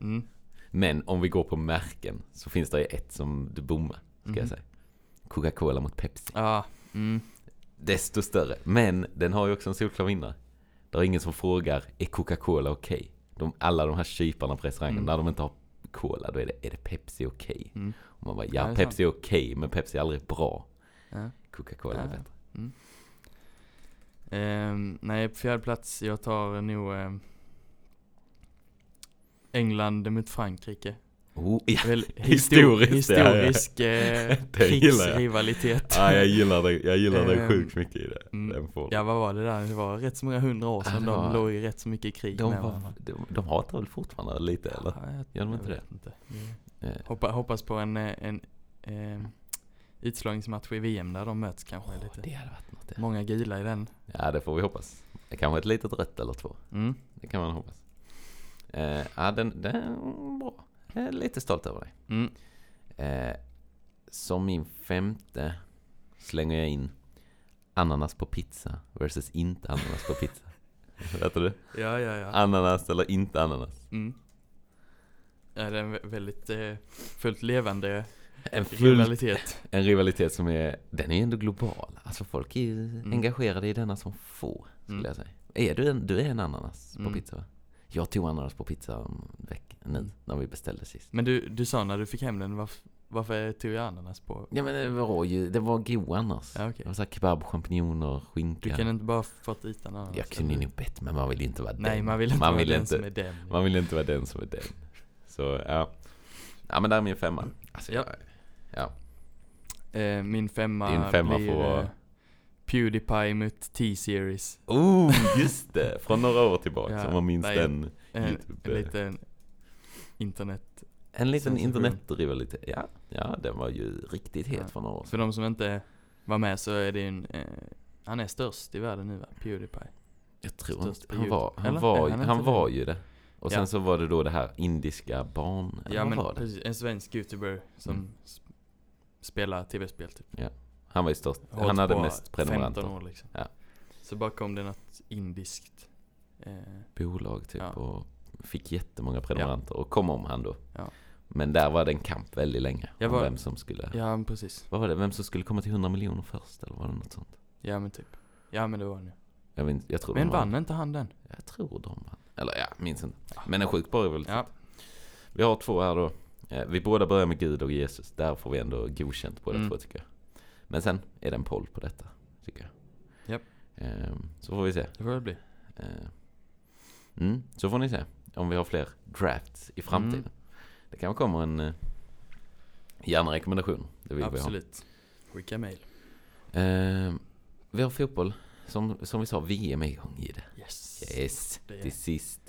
Speaker 2: mm,
Speaker 1: Men om vi går på märken så finns det ju ett som du bommar, ska jag
Speaker 2: mhm.
Speaker 1: säga. Coca-Cola mot Pepsi.
Speaker 2: Ja, mm,
Speaker 1: desto större. Men den har ju också en solklar vinnare. Det är ingen som frågar, är Coca-Cola okej? De, alla de här kyparna på restaurangen,
Speaker 2: Mm.
Speaker 1: när de inte har Cola, då är det, är det Pepsi okej?
Speaker 2: mm,
Speaker 1: Och man bara,
Speaker 2: Ja,
Speaker 1: ja,
Speaker 2: det är
Speaker 1: Pepsi är okej, men Pepsi är aldrig bra.
Speaker 2: ja.
Speaker 1: Coca-Cola är
Speaker 2: Ja.
Speaker 1: bättre.
Speaker 2: Ehm, nej, på fjärde plats, jag tar nog ehm, England mot Frankrike.
Speaker 1: Oh, ja.
Speaker 2: Väl,
Speaker 1: Historiskt, ja, ja.
Speaker 2: historisk eh,
Speaker 1: Det gillar jag.
Speaker 2: krigsrivalitet.
Speaker 1: Ah, jag gillar det, jag gillar det
Speaker 2: Ehm,
Speaker 1: sjukt mycket i det.
Speaker 2: mm.
Speaker 1: Den får.
Speaker 2: Ja, vad var det där? Det var rätt så många hundra år
Speaker 1: Ja,
Speaker 2: sedan
Speaker 1: det var-
Speaker 2: de låg i rätt så mycket krig
Speaker 1: de,
Speaker 2: med
Speaker 1: var,
Speaker 2: varandra.
Speaker 1: de, de hatar väl fortfarande lite eller?
Speaker 2: Ja, jag,
Speaker 1: Gör de inte
Speaker 2: vet inte.
Speaker 1: Eh,
Speaker 2: Hoppa, hoppas på en, eh, en eh, utslagningsmatch i VM där de möts kanske.
Speaker 1: åh,
Speaker 2: lite.
Speaker 1: det hade varit något. Det.
Speaker 2: Många gula i den.
Speaker 1: Ja, det får vi hoppas. Kanske ett litet rött eller två.
Speaker 2: Mm.
Speaker 1: Det kan man hoppas. Eh, ja, den, den är bra. Jag är lite stolt över dig.
Speaker 2: Mm.
Speaker 1: Eh, som min femte slänger jag in ananas på pizza versus inte ananas på pizza. Vet du?
Speaker 2: Ja, ja, ja.
Speaker 1: Ananas eller inte ananas.
Speaker 2: Mm. Ja, det är en vä- väldigt eh, fullt levande
Speaker 1: En, full,
Speaker 2: rivalitet.
Speaker 1: en rivalitet som är, den är ju ändå global. Alltså folk är ju engagerade i denna som få, skulle
Speaker 2: Mm.
Speaker 1: jag säga. Är du en, du är en ananas på
Speaker 2: Mm.
Speaker 1: pizza va? Jag tog ananas på pizza om veckan nu,
Speaker 2: Mm.
Speaker 1: när vi beställde sist.
Speaker 2: Men du, du sa när du fick hem den, varför, varför tog jag ananas på?
Speaker 1: Ja men det var ju, det var god annars.
Speaker 2: Ja,
Speaker 1: Det
Speaker 2: okej.
Speaker 1: var såhär kebab, champinjoner, skinka.
Speaker 2: Du kan inte bara fått dit en ananas?
Speaker 1: Jag kunde ju
Speaker 2: eller?
Speaker 1: nog bett men man vill ju inte vara
Speaker 2: Nej,
Speaker 1: den.
Speaker 2: man vill inte
Speaker 1: man
Speaker 2: vara
Speaker 1: vill
Speaker 2: den
Speaker 1: inte,
Speaker 2: som är den.
Speaker 1: Man vill inte vara den som är den. Så ja. Ja men där är min femma. Alltså,
Speaker 2: Ja.
Speaker 1: ja.
Speaker 2: Eh, min femma,
Speaker 1: Din femma
Speaker 2: blir
Speaker 1: får-
Speaker 2: eh, Pewdiepie mot T-series.
Speaker 1: Oh, just det! Från några år tillbaka
Speaker 2: Ja,
Speaker 1: om man minns
Speaker 2: nej.
Speaker 1: den.
Speaker 2: Eh,
Speaker 1: YouTube,
Speaker 2: en
Speaker 1: eh.
Speaker 2: liten internet.
Speaker 1: En liten
Speaker 2: Sensation.
Speaker 1: internetrivalitet. Ja, ja, den var ju riktigt het
Speaker 2: Ja.
Speaker 1: för några år sedan.
Speaker 2: För de som inte var med så är det en... Eh, han är störst i världen nu va? Pewdiepie.
Speaker 1: Jag tror
Speaker 2: Störst
Speaker 1: inte.
Speaker 2: på
Speaker 1: Han
Speaker 2: YouTube,
Speaker 1: var, han
Speaker 2: eller?
Speaker 1: var,
Speaker 2: Är han
Speaker 1: han
Speaker 2: inte
Speaker 1: var
Speaker 2: det?
Speaker 1: ju det. Och
Speaker 2: Ja.
Speaker 1: sen så var det då det här indiska barn... eller
Speaker 2: Ja
Speaker 1: vad
Speaker 2: men
Speaker 1: var det?
Speaker 2: precis, en svensk youtuber som
Speaker 1: Mm.
Speaker 2: s- spelar tv-spel typ.
Speaker 1: Han var ju störst.
Speaker 2: Har
Speaker 1: Han
Speaker 2: hållit
Speaker 1: hade
Speaker 2: på
Speaker 1: mest
Speaker 2: 15
Speaker 1: prenumeranter.
Speaker 2: år liksom.
Speaker 1: Ja.
Speaker 2: Så bara kom det något indiskt. Eh,
Speaker 1: Bolag typ
Speaker 2: Ja.
Speaker 1: och fick jättemånga prenumeranter. Och kom om han då.
Speaker 2: Ja.
Speaker 1: Men där var det en kamp väldigt länge.
Speaker 2: Jag
Speaker 1: om
Speaker 2: var-
Speaker 1: vem som skulle...
Speaker 2: ja men precis.
Speaker 1: Vad var det? Vem som skulle komma till 100 miljoner först? Eller var det något sånt?
Speaker 2: Ja men typ. Ja men det var han ju.
Speaker 1: Jag, vet, inte- jag tror
Speaker 2: Men
Speaker 1: de vann.
Speaker 2: vann inte han den?
Speaker 1: Jag tror de vann. Eller ja, minns inte. Men en sjukt bra rivalitet.
Speaker 2: Ja.
Speaker 1: Vi har två här då. Eh, Vi båda börjar med Gud och Jesus. Där får vi ändå godkänt båda
Speaker 2: Mm.
Speaker 1: två tycker jag. Men sen är det en poll på detta, tycker jag.
Speaker 2: Japp.
Speaker 1: Ehm, Så får vi se.
Speaker 2: Det får det bli.
Speaker 1: Eh, Mm, så får ni se om vi har fler drafts i framtiden.
Speaker 2: Mm.
Speaker 1: Det kanske kommer en eh, gärna rekommendation. Det vill vi ha.
Speaker 2: Absolut. Skicka mail.
Speaker 1: Ehm, vi har fotboll. Som, som vi sa, VM är igång i det.
Speaker 2: Yes.
Speaker 1: Yes,
Speaker 2: Det är-
Speaker 1: till sist.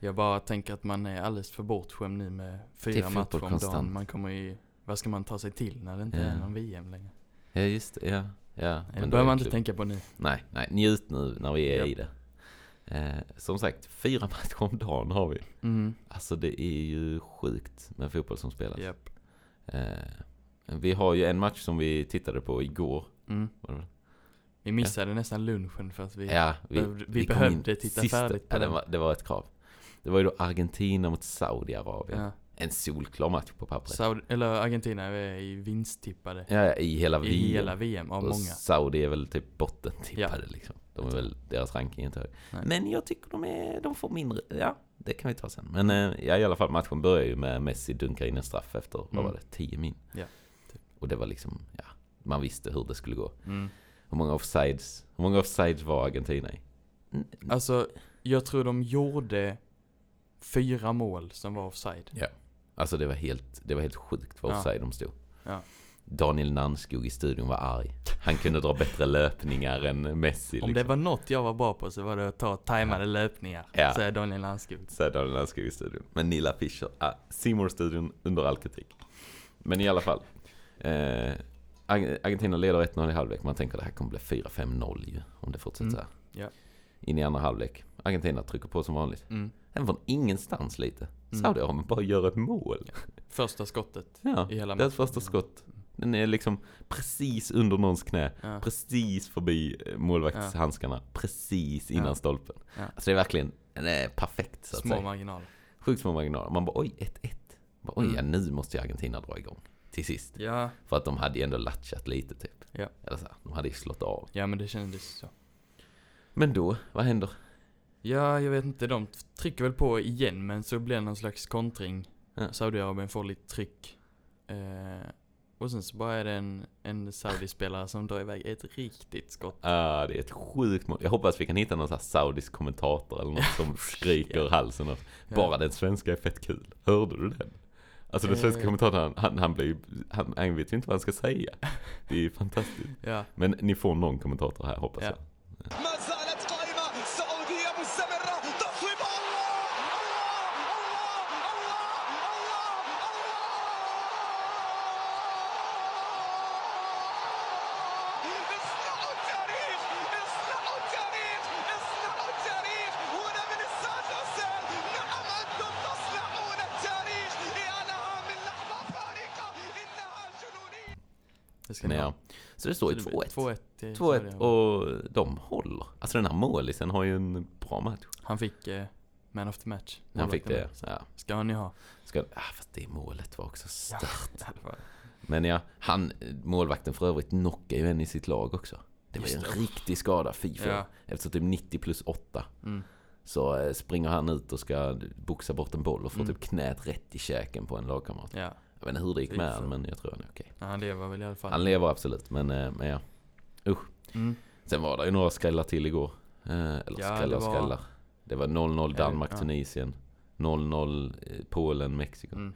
Speaker 2: Jag bara tänker att man är alldeles för bortskämd nu med fyra
Speaker 1: fotboll
Speaker 2: matcher om
Speaker 1: konstant.
Speaker 2: dagen. Man kommer ju, vad ska man ta sig till när det inte
Speaker 1: Ja.
Speaker 2: är någon VM längre?
Speaker 1: Ja, just det. Ja, ja.
Speaker 2: Nej, det
Speaker 1: då är
Speaker 2: behöver man
Speaker 1: det typ
Speaker 2: inte
Speaker 1: klubbt.
Speaker 2: tänka på nu.
Speaker 1: Nej, nej, njut nu när vi är
Speaker 2: Ja.
Speaker 1: i det. Eh, som sagt, fyra matcher om dagen har vi.
Speaker 2: Mm.
Speaker 1: Alltså det är ju sjukt med fotboll som spelas.
Speaker 2: Japp.
Speaker 1: Eh, vi har ju en match som vi tittade på igår.
Speaker 2: Mm.
Speaker 1: Var det väl?
Speaker 2: Vi missade nästan lunchen för att vi...
Speaker 1: ja,
Speaker 2: behövde- vi
Speaker 1: kom
Speaker 2: behövde
Speaker 1: in
Speaker 2: titta
Speaker 1: sista-
Speaker 2: färdigt på
Speaker 1: ja, det,
Speaker 2: den.
Speaker 1: var, det var ett krav. Det var ju då Argentina mot Saudiarabien.
Speaker 2: Ja.
Speaker 1: En solklar match på pappret.
Speaker 2: Saudi, eller Argentina är i vinsttippade
Speaker 1: ja, ja, i hela
Speaker 2: i
Speaker 1: VM.
Speaker 2: hela VM av
Speaker 1: och
Speaker 2: många.
Speaker 1: Saudi är väl typ bottentippade liksom. De är väl, deras ranking är inte hög.
Speaker 2: Nej.
Speaker 1: Men jag tycker de, är, de får mindre, ja det kan vi ta sen. Men eh, ja, i alla fall matchen börjar ju med Messi dunkar in en straff efter, vad
Speaker 2: Mm.
Speaker 1: var det, 10 min?
Speaker 2: Ja, typ.
Speaker 1: Och det var liksom, ja, man visste hur det skulle gå.
Speaker 2: Mm.
Speaker 1: Hur många offsides, hur många offsides var Argentina i? Mm,
Speaker 2: Alltså, jag tror de gjorde fyra mål som var offside.
Speaker 1: Alltså det var helt, det var helt sjukt vad
Speaker 2: Ja.
Speaker 1: offside de stod.
Speaker 2: Ja.
Speaker 1: Daniel Nanskog i studion var arg. Han kunde dra bättre löpningar än Messi.
Speaker 2: Om det var något jag var bra på så var det att ta tajmade löpningar,
Speaker 1: liksom. Ja.
Speaker 2: säger Daniel Landskog.
Speaker 1: Säger Daniel Landskog i studion. Men Nilla Fischer, ah, Seymour studion under all kritik. Men i alla fall. Eh, Arg- Argentina leder 1-0 i halvlek. Man tänker det här kommer bli 4-5-0 ju. Om det fortsätter
Speaker 2: Mm,
Speaker 1: så här.
Speaker 2: ja.
Speaker 1: In i andra halvlek. Argentina trycker på som vanligt.
Speaker 2: Mm.
Speaker 1: Den från ingenstans lite.
Speaker 2: Mm.
Speaker 1: Saudiarabien bara gör ett mål.
Speaker 2: Första skottet
Speaker 1: Ja,
Speaker 2: i hela
Speaker 1: deras första skott. Den är liksom precis under någons knä.
Speaker 2: Ja.
Speaker 1: Precis förbi eh, målvaktshandskarna. Precis innan
Speaker 2: Ja.
Speaker 1: stolpen.
Speaker 2: Ja.
Speaker 1: Alltså det är verkligen eh, perfekt så att
Speaker 2: Små
Speaker 1: säga.
Speaker 2: marginaler.
Speaker 1: Sjukt små marginaler. Man bara oj, 1-1. Bara, Oj,
Speaker 2: Mm.
Speaker 1: ja, nu måste ju Argentina dra igång. Till sist.
Speaker 2: Ja.
Speaker 1: För att de hade ju ändå latchat lite typ.
Speaker 2: Ja.
Speaker 1: Eller så här, de hade ju slått av.
Speaker 2: ja, men det kändes så.
Speaker 1: Men då, vad händer?
Speaker 2: Ja, jag vet inte. De t- trycker väl på igen, men så blir det någon slags kontring.
Speaker 1: Ja.
Speaker 2: Saudiarabien får lite tryck. Eh, och sen så bara är det en, en Saudi-spelare som drar iväg ett riktigt skott.
Speaker 1: Ah, det är ett sjukt mål. Jag hoppas vi kan hitta någon så här saudisk kommentator eller något som skriker
Speaker 2: Ja.
Speaker 1: halsen av.
Speaker 2: Ja.
Speaker 1: Bara den svenska är fett kul. Hörde du den? Alltså den svenska
Speaker 2: Eh.
Speaker 1: kommentatorn, han, han blir ju, han, han vet ju inte vad han ska säga. Det är ju fantastiskt.
Speaker 2: Ja.
Speaker 1: Men ni får någon kommentator här hoppas
Speaker 2: Ja.
Speaker 1: jag.
Speaker 3: ما زالت قائمة سعودية مستمرة تصويب الله الله الله الله الله الله اصنعوا التاريخ اصنعوا التاريخ اصنعوا التاريخ هنا من السعد حسين نعم أنتم تصنعون التاريخ يا لها من لحظة فارقة إنها جنونية
Speaker 2: Det ska
Speaker 1: Men
Speaker 2: ni
Speaker 1: ja.
Speaker 2: ha.
Speaker 1: Så det står ju
Speaker 2: Så det blir
Speaker 1: 2-1.
Speaker 2: 2-1 till
Speaker 1: 2-1
Speaker 2: Saudiarabien.
Speaker 1: och de håller. Alltså den här målisen har ju en bra match.
Speaker 2: Han fick eh, Man of the Match.
Speaker 1: Han fick det.
Speaker 2: Så
Speaker 1: Ja.
Speaker 2: Ska han ju ha.
Speaker 1: Ska, ah, fast det målet var också stört.
Speaker 2: Ja, det var-
Speaker 1: Men ja, han, målvakten för övrigt knockar ju en i sitt lag också. Det var ju en
Speaker 2: Just det.
Speaker 1: riktig skada, fy fan.
Speaker 2: Ja.
Speaker 1: Efter typ 90 plus 8
Speaker 2: Mm.
Speaker 1: så eh, springer han ut och ska boxa bort en boll och får
Speaker 2: Mm.
Speaker 1: typ knät rätt i käken på en lagkamrat.
Speaker 2: Ja.
Speaker 1: Jag vet inte hur det gick
Speaker 2: Fy
Speaker 1: med
Speaker 2: fan.
Speaker 1: han, men jag tror han är okej.
Speaker 2: Ja, Han lever väl i alla fall.
Speaker 1: Han lever absolut, men, eh, men ja.
Speaker 2: Mm.
Speaker 1: Sen var det ju några skrällar till igår. Eh, Eller
Speaker 2: Ja,
Speaker 1: skrällar
Speaker 2: det
Speaker 1: och
Speaker 2: var-
Speaker 1: skrällar. Det var 0-0 Danmark,
Speaker 2: Ja.
Speaker 1: Tunisien. 0-0 eh, Polen, Mexiko.
Speaker 2: Mm.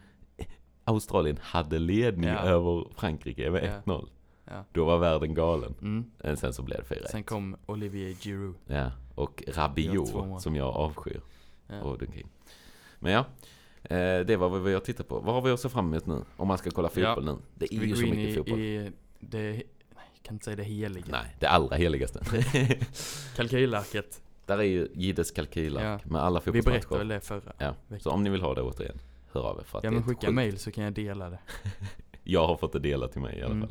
Speaker 1: Australien hade ledning
Speaker 2: Ja.
Speaker 1: över Frankrike med
Speaker 2: Ja.
Speaker 1: 1-0.
Speaker 2: Ja.
Speaker 1: Då var världen galen.
Speaker 2: Mm.
Speaker 1: Eh, Sen så blev det 4-1.
Speaker 2: Sen kom Olivier Giroud.
Speaker 1: Ja. Och
Speaker 2: Gör två
Speaker 1: Rabiot
Speaker 2: mål.
Speaker 1: som jag avskyr.
Speaker 2: Ja.
Speaker 1: Och dunkar in. Men ja. eh, Det var vad vi har tittat på. Vad har vi att se fram emot nu? Om man ska kolla
Speaker 2: Ja.
Speaker 1: fotboll nu. Det är
Speaker 2: Vi
Speaker 1: ju
Speaker 2: går
Speaker 1: så
Speaker 2: in
Speaker 1: mycket
Speaker 2: i,
Speaker 1: fotboll.
Speaker 2: i det, nej, jag kan inte säga det heliga.
Speaker 1: Nej, det allra heligaste.
Speaker 2: Kalkylarket.
Speaker 1: Där är ju Jiddes kalkylark
Speaker 2: Ja.
Speaker 1: med alla
Speaker 2: Vi berättade väl
Speaker 1: fotbollsmatcher.
Speaker 2: det förra.
Speaker 1: Ja. Så
Speaker 2: veckan.
Speaker 1: om ni vill ha det återigen, hör av er. För att
Speaker 2: Ja
Speaker 1: det är
Speaker 2: men
Speaker 1: ett
Speaker 2: skicka
Speaker 1: sjukt-
Speaker 2: mail så kan jag dela det.
Speaker 1: Jag har fått det delat till mig i alla
Speaker 2: Mm.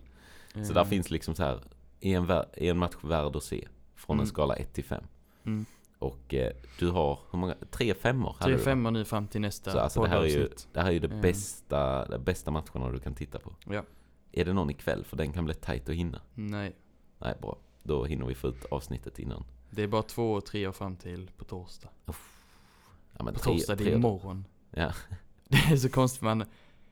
Speaker 1: fall. Så där
Speaker 2: Eh,
Speaker 1: finns liksom så här, är en, vär- är en match värd att se? Från
Speaker 2: Mm.
Speaker 1: en skala 1 till 5.
Speaker 2: Mm.
Speaker 1: Och eh, du har, hur många? Tre femmor hade
Speaker 2: Tre
Speaker 1: du.
Speaker 2: femmor nu fram till nästa
Speaker 1: Så alltså det här är ju,
Speaker 2: poddavsnitt.
Speaker 1: det här är ju det
Speaker 2: Mm.
Speaker 1: bästa, de bästa matcherna du kan titta på.
Speaker 2: Ja.
Speaker 1: Är det någon ikväll? För den kan bli tight att hinna.
Speaker 2: Nej.
Speaker 1: Nej, bra. Då hinner vi få ut avsnittet innan.
Speaker 2: Det är bara två och tre och fram till på torsdag.
Speaker 1: Ja, men
Speaker 2: På
Speaker 1: tre-
Speaker 2: torsdag, det
Speaker 1: tre-
Speaker 2: är imorgon.
Speaker 1: Ja.
Speaker 2: Det är så konstigt man.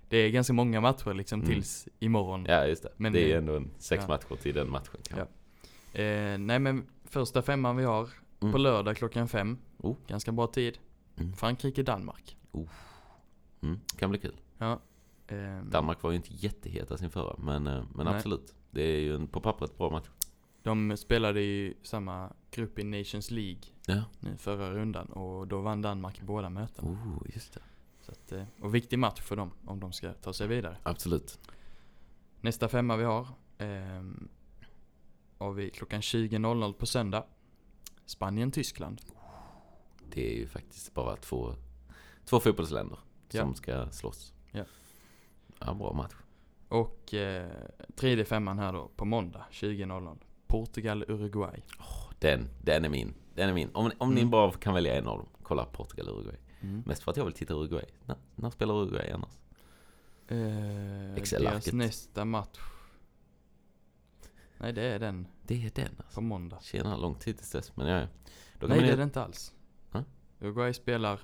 Speaker 2: Det är ganska många matcher liksom
Speaker 1: Mm.
Speaker 2: tills imorgon.
Speaker 1: Ja, just det.
Speaker 2: Men
Speaker 1: det är ju
Speaker 2: det-
Speaker 1: ändå en sex
Speaker 2: ja.
Speaker 1: matcher till den matchen. Kan
Speaker 2: Ja. Eh, nej men första femman vi har
Speaker 1: Mm.
Speaker 2: på lördag klockan fem.
Speaker 1: Oh.
Speaker 2: Ganska bra tid.
Speaker 1: Mm.
Speaker 2: Frankrike-Danmark.
Speaker 1: Mm, kan bli kul.
Speaker 2: Ja. Ehm,
Speaker 1: Danmark var ju inte jätteheta sin förra, men, eh, men
Speaker 2: Nej.
Speaker 1: absolut. Det är ju en på pappret bra match.
Speaker 2: de spelade i samma grupp i Nations League
Speaker 1: Ja.
Speaker 2: nu förra rundan och då vann Danmark båda mötena.
Speaker 1: Oh, just det.
Speaker 2: Så att, eh, och viktig match för dem om de ska ta sig vidare.
Speaker 1: Absolut.
Speaker 2: Nästa femma vi har ehm, har vi klockan 20.00 på söndag. Spanien-Tyskland.
Speaker 1: Det är ju faktiskt bara två, två fotbollsländer
Speaker 2: Ja.
Speaker 1: som ska slåss.
Speaker 2: Ja.
Speaker 1: Ja, bra match.
Speaker 2: Och eh, tredje femman här då på måndag 20.00. Portugal-Uruguay.
Speaker 1: Den, den är min. Den är min. Om, om ni
Speaker 2: Mm.
Speaker 1: bara kan välja en av dem, kolla Portugal och Uruguay.
Speaker 2: Mm.
Speaker 1: Mest för att jag vill titta Uruguay. När, när spelar Uruguay annars?
Speaker 2: Eh, deras
Speaker 1: Excel-arket.
Speaker 2: nästa match. Nej det är den
Speaker 1: Det är den alltså.
Speaker 2: på måndag.
Speaker 1: Tjena, lång tid tills dess. Men ja, ja. Då kan
Speaker 2: Nej
Speaker 1: man
Speaker 2: det
Speaker 1: ju-
Speaker 2: är det inte alls.
Speaker 1: Ja.
Speaker 2: Uruguay spelar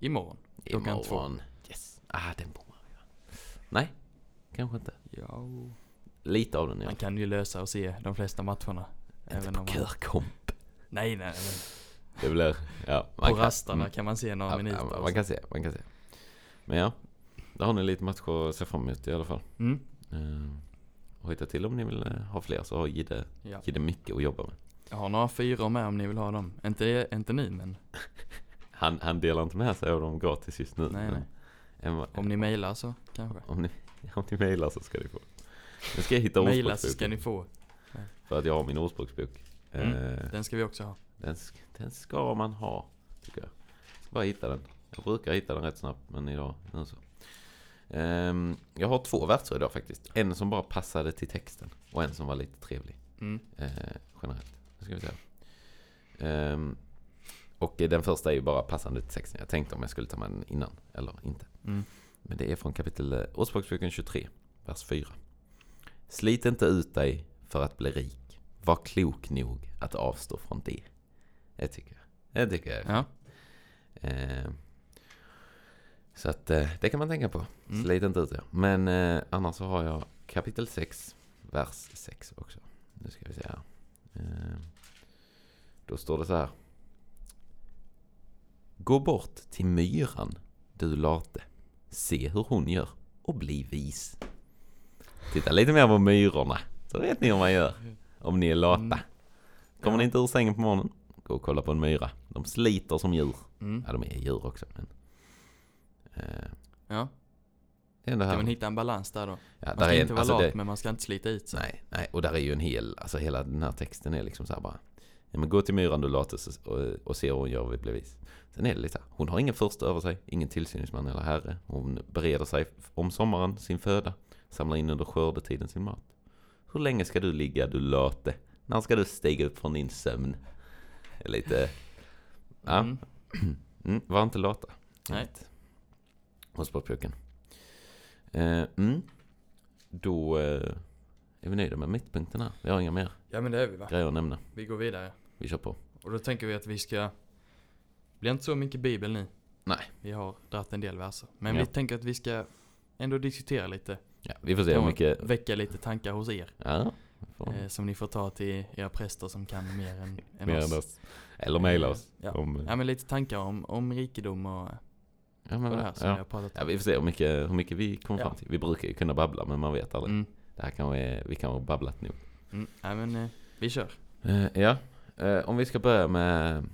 Speaker 2: imorgon. Klockan två.
Speaker 1: Imorgon. Yes. Ah, den bommar jag. Nej, kanske inte.
Speaker 2: Ja.
Speaker 1: Lite av den i alla
Speaker 2: Man
Speaker 1: fall.
Speaker 2: kan ju lösa och se de flesta matcherna.
Speaker 1: Inte på
Speaker 2: man-
Speaker 1: körkomp.
Speaker 2: Nej nej. nej.
Speaker 1: Det blir... Ja, man
Speaker 2: På rasterna
Speaker 1: mm,
Speaker 2: kan man se några
Speaker 1: ja,
Speaker 2: minuter.
Speaker 1: ja,
Speaker 2: och
Speaker 1: man
Speaker 2: så.
Speaker 1: kan se, man kan se. Men ja, där har ni lite matcher att se fram emot i alla fall.
Speaker 2: Mm.
Speaker 1: Ehm, och hitta till om ni vill eh, ha fler så har Gide,
Speaker 2: Ja.
Speaker 1: Gide mycket att jobba med.
Speaker 2: Jag har några fyror med om ni vill ha dem. Inte, inte nu men
Speaker 1: Han, han delar inte med sig av dem gratis just nu.
Speaker 2: Nej,
Speaker 1: men
Speaker 2: nej.
Speaker 1: en va-
Speaker 2: om ni mejlar så kanske.
Speaker 1: om ni, om ni mejlar så ska ni få. Nu ska jag hitta
Speaker 2: Mejla så ska
Speaker 1: ordspråksboken.
Speaker 2: ni få.
Speaker 1: För att jag har min ordspråksbok.
Speaker 2: Mm.
Speaker 1: Eh,
Speaker 2: Den ska vi också ha.
Speaker 1: Den, sk- den ska man ha, tycker jag. Ska bara hitta den. Jag brukar hitta den rätt snabbt, men idag, nu så. Ehm, jag har två verser idag faktiskt. En som bara passade till texten och en som var lite trevlig.
Speaker 2: Mm.
Speaker 1: eh, generellt. Nu ska vi se. Ehm, och den första är ju bara passande till texten. Jag tänkte om jag skulle ta med den innan eller inte.
Speaker 2: Mm.
Speaker 1: Men det är från kapitel eh, Ordspråksboken 23, vers 4. Slit inte ut dig för att bli rik. Var klok nog att avstå från det. Det tycker jag. Det tycker jag. är
Speaker 2: Ja.
Speaker 1: Ehm, så att eh, det kan man tänka på.
Speaker 2: Mm.
Speaker 1: Slit inte ut det. Men eh, annars så har jag kapitel 6, vers 6 också. Nu ska vi se här. Ehm, då står det så här. Gå bort till myran, du late. Se hur hon gör och bli vis. Titta lite mer på myrorna, så vet ni hur man gör. Om ni är lata.
Speaker 2: Mm.
Speaker 1: Kommer
Speaker 2: Ja.
Speaker 1: ni inte ur sängen på morgonen, gå och kolla på en myra. De sliter som djur.
Speaker 2: Mm.
Speaker 1: Ja, de är djur också, men... Eh,
Speaker 2: Ja.
Speaker 1: det är ändå
Speaker 2: Ska man
Speaker 1: här.
Speaker 2: hitta en balans där då?
Speaker 1: Ja,
Speaker 2: Man
Speaker 1: där
Speaker 2: ska
Speaker 1: är
Speaker 2: inte
Speaker 1: en,
Speaker 2: vara
Speaker 1: alltså
Speaker 2: lat
Speaker 1: det,
Speaker 2: men man ska inte slita ut sig.
Speaker 1: nej, nej, och där är ju en hel, alltså hela den här texten är liksom så här bara. Ja, men gå till myran du late så- och, och se hur hon gör vid bevis. Sen är det lite så här, hon har ingen första över sig, ingen tillsyningsman eller herre. Hon bereder sig f- om sommaren sin föda, samlar in under skördetiden sin mat. Hur länge ska du ligga du late? När ska du stiga upp från din sömn? Lite, ja.
Speaker 2: Mm.
Speaker 1: Mm, var inte lata.
Speaker 2: Nej.
Speaker 1: Rätt. Hos sportboken. Eh, mm. Då eh, är vi nöjda med mittpunkten här. Vi har inga mer
Speaker 2: Ja men det är vi va?
Speaker 1: grejer att nämna.
Speaker 2: Vi går vidare.
Speaker 1: Vi kör på.
Speaker 2: Och då tänker vi att vi ska... Det blir inte så mycket bibel nu.
Speaker 1: Nej.
Speaker 2: Vi har dragit en del verser. Men
Speaker 1: Ja.
Speaker 2: vi tänker att vi ska ändå diskutera lite.
Speaker 1: Ja, vi får se hur
Speaker 2: Ja.
Speaker 1: mycket...
Speaker 2: Väcka lite tankar hos er.
Speaker 1: Ja, vi får-
Speaker 2: Eh, som ni får ta till era präster som kan mer än, än
Speaker 1: mer
Speaker 2: oss.
Speaker 1: än oss. Eller mejla
Speaker 2: Eh,
Speaker 1: oss.
Speaker 2: Ja.
Speaker 1: Om,
Speaker 2: ja men lite tankar om, om rikedom och,
Speaker 1: ja, men,
Speaker 2: och det här
Speaker 1: ja.
Speaker 2: som vi
Speaker 1: Ja.
Speaker 2: har pratat om.
Speaker 1: vi får se hur mycket, hur mycket vi kommer
Speaker 2: Ja.
Speaker 1: fram till. Vi brukar ju kunna babbla, men man vet aldrig.
Speaker 2: Mm.
Speaker 1: Det här kan vi, vi kan ha babblat nog.
Speaker 2: Mm. Ja men eh, vi kör.
Speaker 1: Eh, ja, eh, om vi ska börja med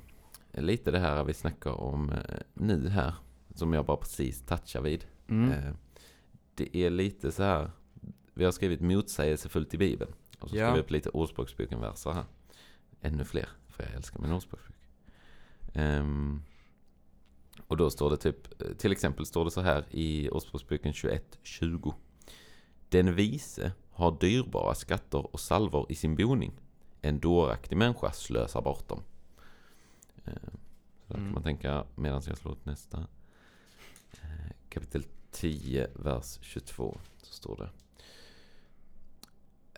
Speaker 1: lite det här vi snackar om eh, nu här. Som jag bara precis touchar vid.
Speaker 2: Mm.
Speaker 1: Eh, det är lite så här. Vi har skrivit motsägelsefullt i Bibeln. Och så
Speaker 2: Ja.
Speaker 1: skriver vi upp lite ordspråksboken-verser här. Ännu fler, för jag älskar min ordspråksbok. Ehm, och då står det typ, eh, till exempel står det så här i Ordspråksboken 21.20. Den vise har dyrbara skatter och salvor i sin boning. En dåraktig människa slösar bort dem. Ehm, Så där kan
Speaker 2: Mm.
Speaker 1: man tänka medan jag slår upp nästa. Eh, Kapitel 10, vers 22. Så står det.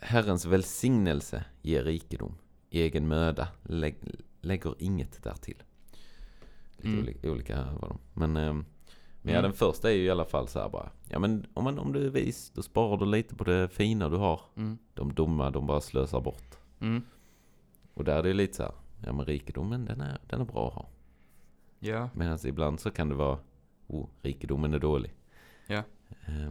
Speaker 1: Herrens välsignelse ger rikedom. Egen möda lägg- lägger inget därtill. Lite
Speaker 2: Mm.
Speaker 1: oli- olika var de. Men, ehm, men ja,
Speaker 2: Mm.
Speaker 1: den första är ju i alla fall så här bara. Ja men om, man, om du är vis, då sparar du lite på det fina du har.
Speaker 2: Mm.
Speaker 1: De dumma, de bara slösar bort.
Speaker 2: Mm.
Speaker 1: Och där är det lite så här. Ja men rikedomen, den är, den är bra att ha.
Speaker 2: Ja,
Speaker 1: Medan ibland så kan det vara. Oh, rikedomen är dålig.
Speaker 2: Ja.
Speaker 1: Ehm, det
Speaker 2: Ja,
Speaker 1: är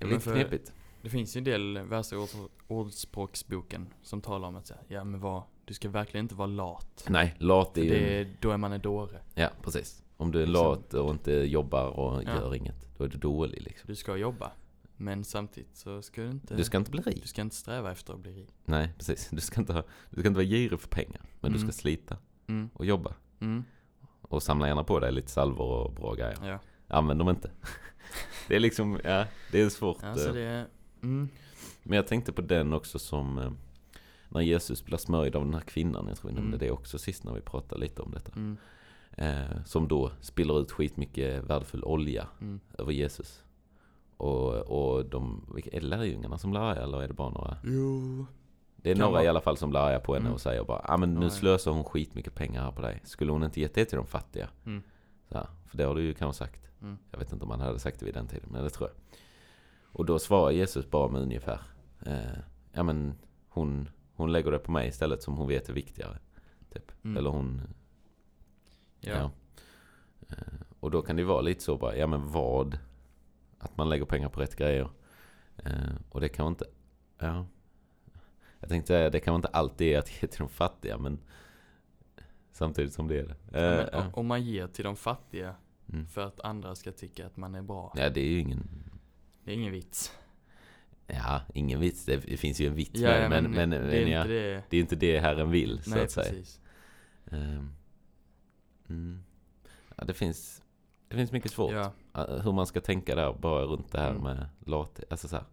Speaker 2: men
Speaker 1: lite
Speaker 2: för-
Speaker 1: knepigt.
Speaker 2: det finns ju en del verser i ords- ordspråksboken som talar om att säga, ja men vad, du ska verkligen inte vara lat.
Speaker 1: Nej, lat är
Speaker 2: För
Speaker 1: ju...
Speaker 2: det, då är man en dåre.
Speaker 1: Ja, precis. Om du är
Speaker 2: Liksom.
Speaker 1: lat och inte jobbar och
Speaker 2: Ja.
Speaker 1: gör inget, då är du dålig liksom.
Speaker 2: Du ska jobba. Men samtidigt så ska du inte,
Speaker 1: Du ska inte bli rik.
Speaker 2: du ska inte sträva efter att bli rik.
Speaker 1: Nej, precis. Du ska inte, ha, du ska inte vara girig för pengar. Men du
Speaker 2: Mm.
Speaker 1: ska slita
Speaker 2: Mm.
Speaker 1: och jobba.
Speaker 2: Mm.
Speaker 1: Och samla gärna på dig lite salvor och bra grejer.
Speaker 2: Ja.
Speaker 1: Använd dem inte. det är liksom, ja, det är svårt.
Speaker 2: Alltså
Speaker 1: eh.
Speaker 2: det är... Mm.
Speaker 1: Men jag tänkte på den också som eh, när Jesus blir smörjd av den här kvinnan. Jag tror vi nämnde
Speaker 2: Mm.
Speaker 1: det också sist när vi pratade lite om detta.
Speaker 2: Mm.
Speaker 1: Eh, som då spiller ut skitmycket värdefull olja
Speaker 2: Mm.
Speaker 1: över Jesus. Och, och de, vilka, är det lärjungarna som blir arga eller är det bara några?
Speaker 2: Jo.
Speaker 1: Det är
Speaker 2: Kan
Speaker 1: några
Speaker 2: vara.
Speaker 1: i alla fall som blir arga på henne
Speaker 2: Mm.
Speaker 1: och säger bara ah, men nu
Speaker 2: Ja, ja.
Speaker 1: slösar hon skitmycket pengar här på dig. Skulle hon inte gett det till de fattiga?
Speaker 2: Mm.
Speaker 1: Så här, för det har du ju kanske sagt.
Speaker 2: Mm.
Speaker 1: Jag vet inte om han hade sagt det vid den tiden, men det tror jag. Och då svarar Jesus bara med ungefär. Eh, ja men hon, hon lägger det på mig istället som hon vet är viktigare.
Speaker 2: Mm.
Speaker 1: Eller hon... Ja.
Speaker 2: Ja.
Speaker 1: Eh, och då kan det ju vara lite så bara, ja men vad? Att man lägger pengar på rätt grejer. Eh, och det kan man inte... Ja. Jag tänkte säga, det kan man inte alltid är att ge till de fattiga, men... Samtidigt som det är det. Eh,
Speaker 2: Ja,
Speaker 1: ja.
Speaker 2: men, o- om man ger till de fattiga
Speaker 1: Mm.
Speaker 2: för att andra ska tycka att man är bra.
Speaker 1: ja, det är ju ingen...
Speaker 2: Det är ingen vits.
Speaker 1: Ja, ingen vits. Det finns ju en vits
Speaker 2: Ja,
Speaker 1: med
Speaker 2: ja,
Speaker 1: men, men,
Speaker 2: det
Speaker 1: men
Speaker 2: är
Speaker 1: ja,
Speaker 2: inte det.
Speaker 1: det är inte det Herren vill, så
Speaker 2: Nej,
Speaker 1: att säga.
Speaker 2: precis.
Speaker 1: Ehm, mm. Ja, det finns... Det finns mycket svårt.
Speaker 2: Ja,
Speaker 1: Eh, hur man ska tänka där, bara runt det här
Speaker 2: Mm.
Speaker 1: med lat. Alltså så här,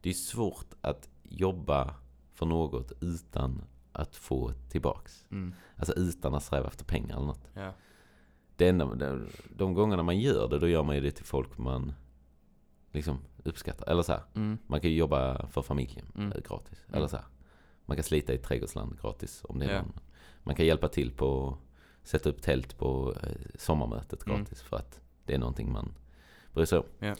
Speaker 1: det är svårt att jobba för något utan att få tillbaks.
Speaker 2: mm,
Speaker 1: Alltså utan att sträva efter pengar eller något.
Speaker 2: ja,
Speaker 1: Det enda, de, de gångerna man gör det, då gör man ju det till folk man liksom uppskattar. Eller så här,
Speaker 2: mm,
Speaker 1: man kan ju jobba för familjen
Speaker 2: Mm.
Speaker 1: eh, gratis.
Speaker 2: Mm.
Speaker 1: Eller så här, man kan slita i ett trädgårdsland gratis om det är
Speaker 2: Ja.
Speaker 1: någon. Man kan hjälpa till på att sätta upp tält på eh, sommarmötet
Speaker 2: Mm.
Speaker 1: gratis för att det är någonting man bryr sig om.
Speaker 2: Ja.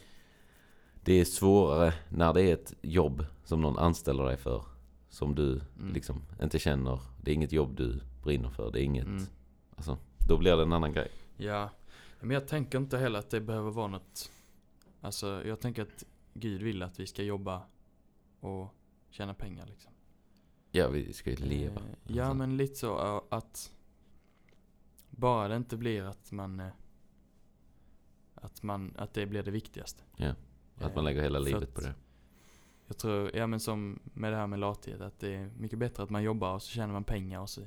Speaker 1: Det är svårare när det är ett jobb som någon anställer dig för som du
Speaker 2: mm,
Speaker 1: liksom inte känner. Det är inget jobb du brinner för. Det är inget,
Speaker 2: mm.
Speaker 1: alltså, då blir det en annan grej.
Speaker 2: Ja, men jag tänker inte heller att det behöver vara något. Alltså, jag tänker att Gud vill att vi ska jobba och tjäna pengar liksom.
Speaker 1: Ja, vi ska ju leva.
Speaker 2: Eh, Ja,
Speaker 1: Alltså.
Speaker 2: men lite så ja, att bara det inte blir att man eh, att man, att det blir det viktigaste.
Speaker 1: Ja, Att man
Speaker 2: Eh,
Speaker 1: lägger hela
Speaker 2: för
Speaker 1: livet
Speaker 2: att-
Speaker 1: på det.
Speaker 2: Jag tror, ja men som med det här med lathet, att det är mycket bättre att man jobbar och så tjänar man pengar och så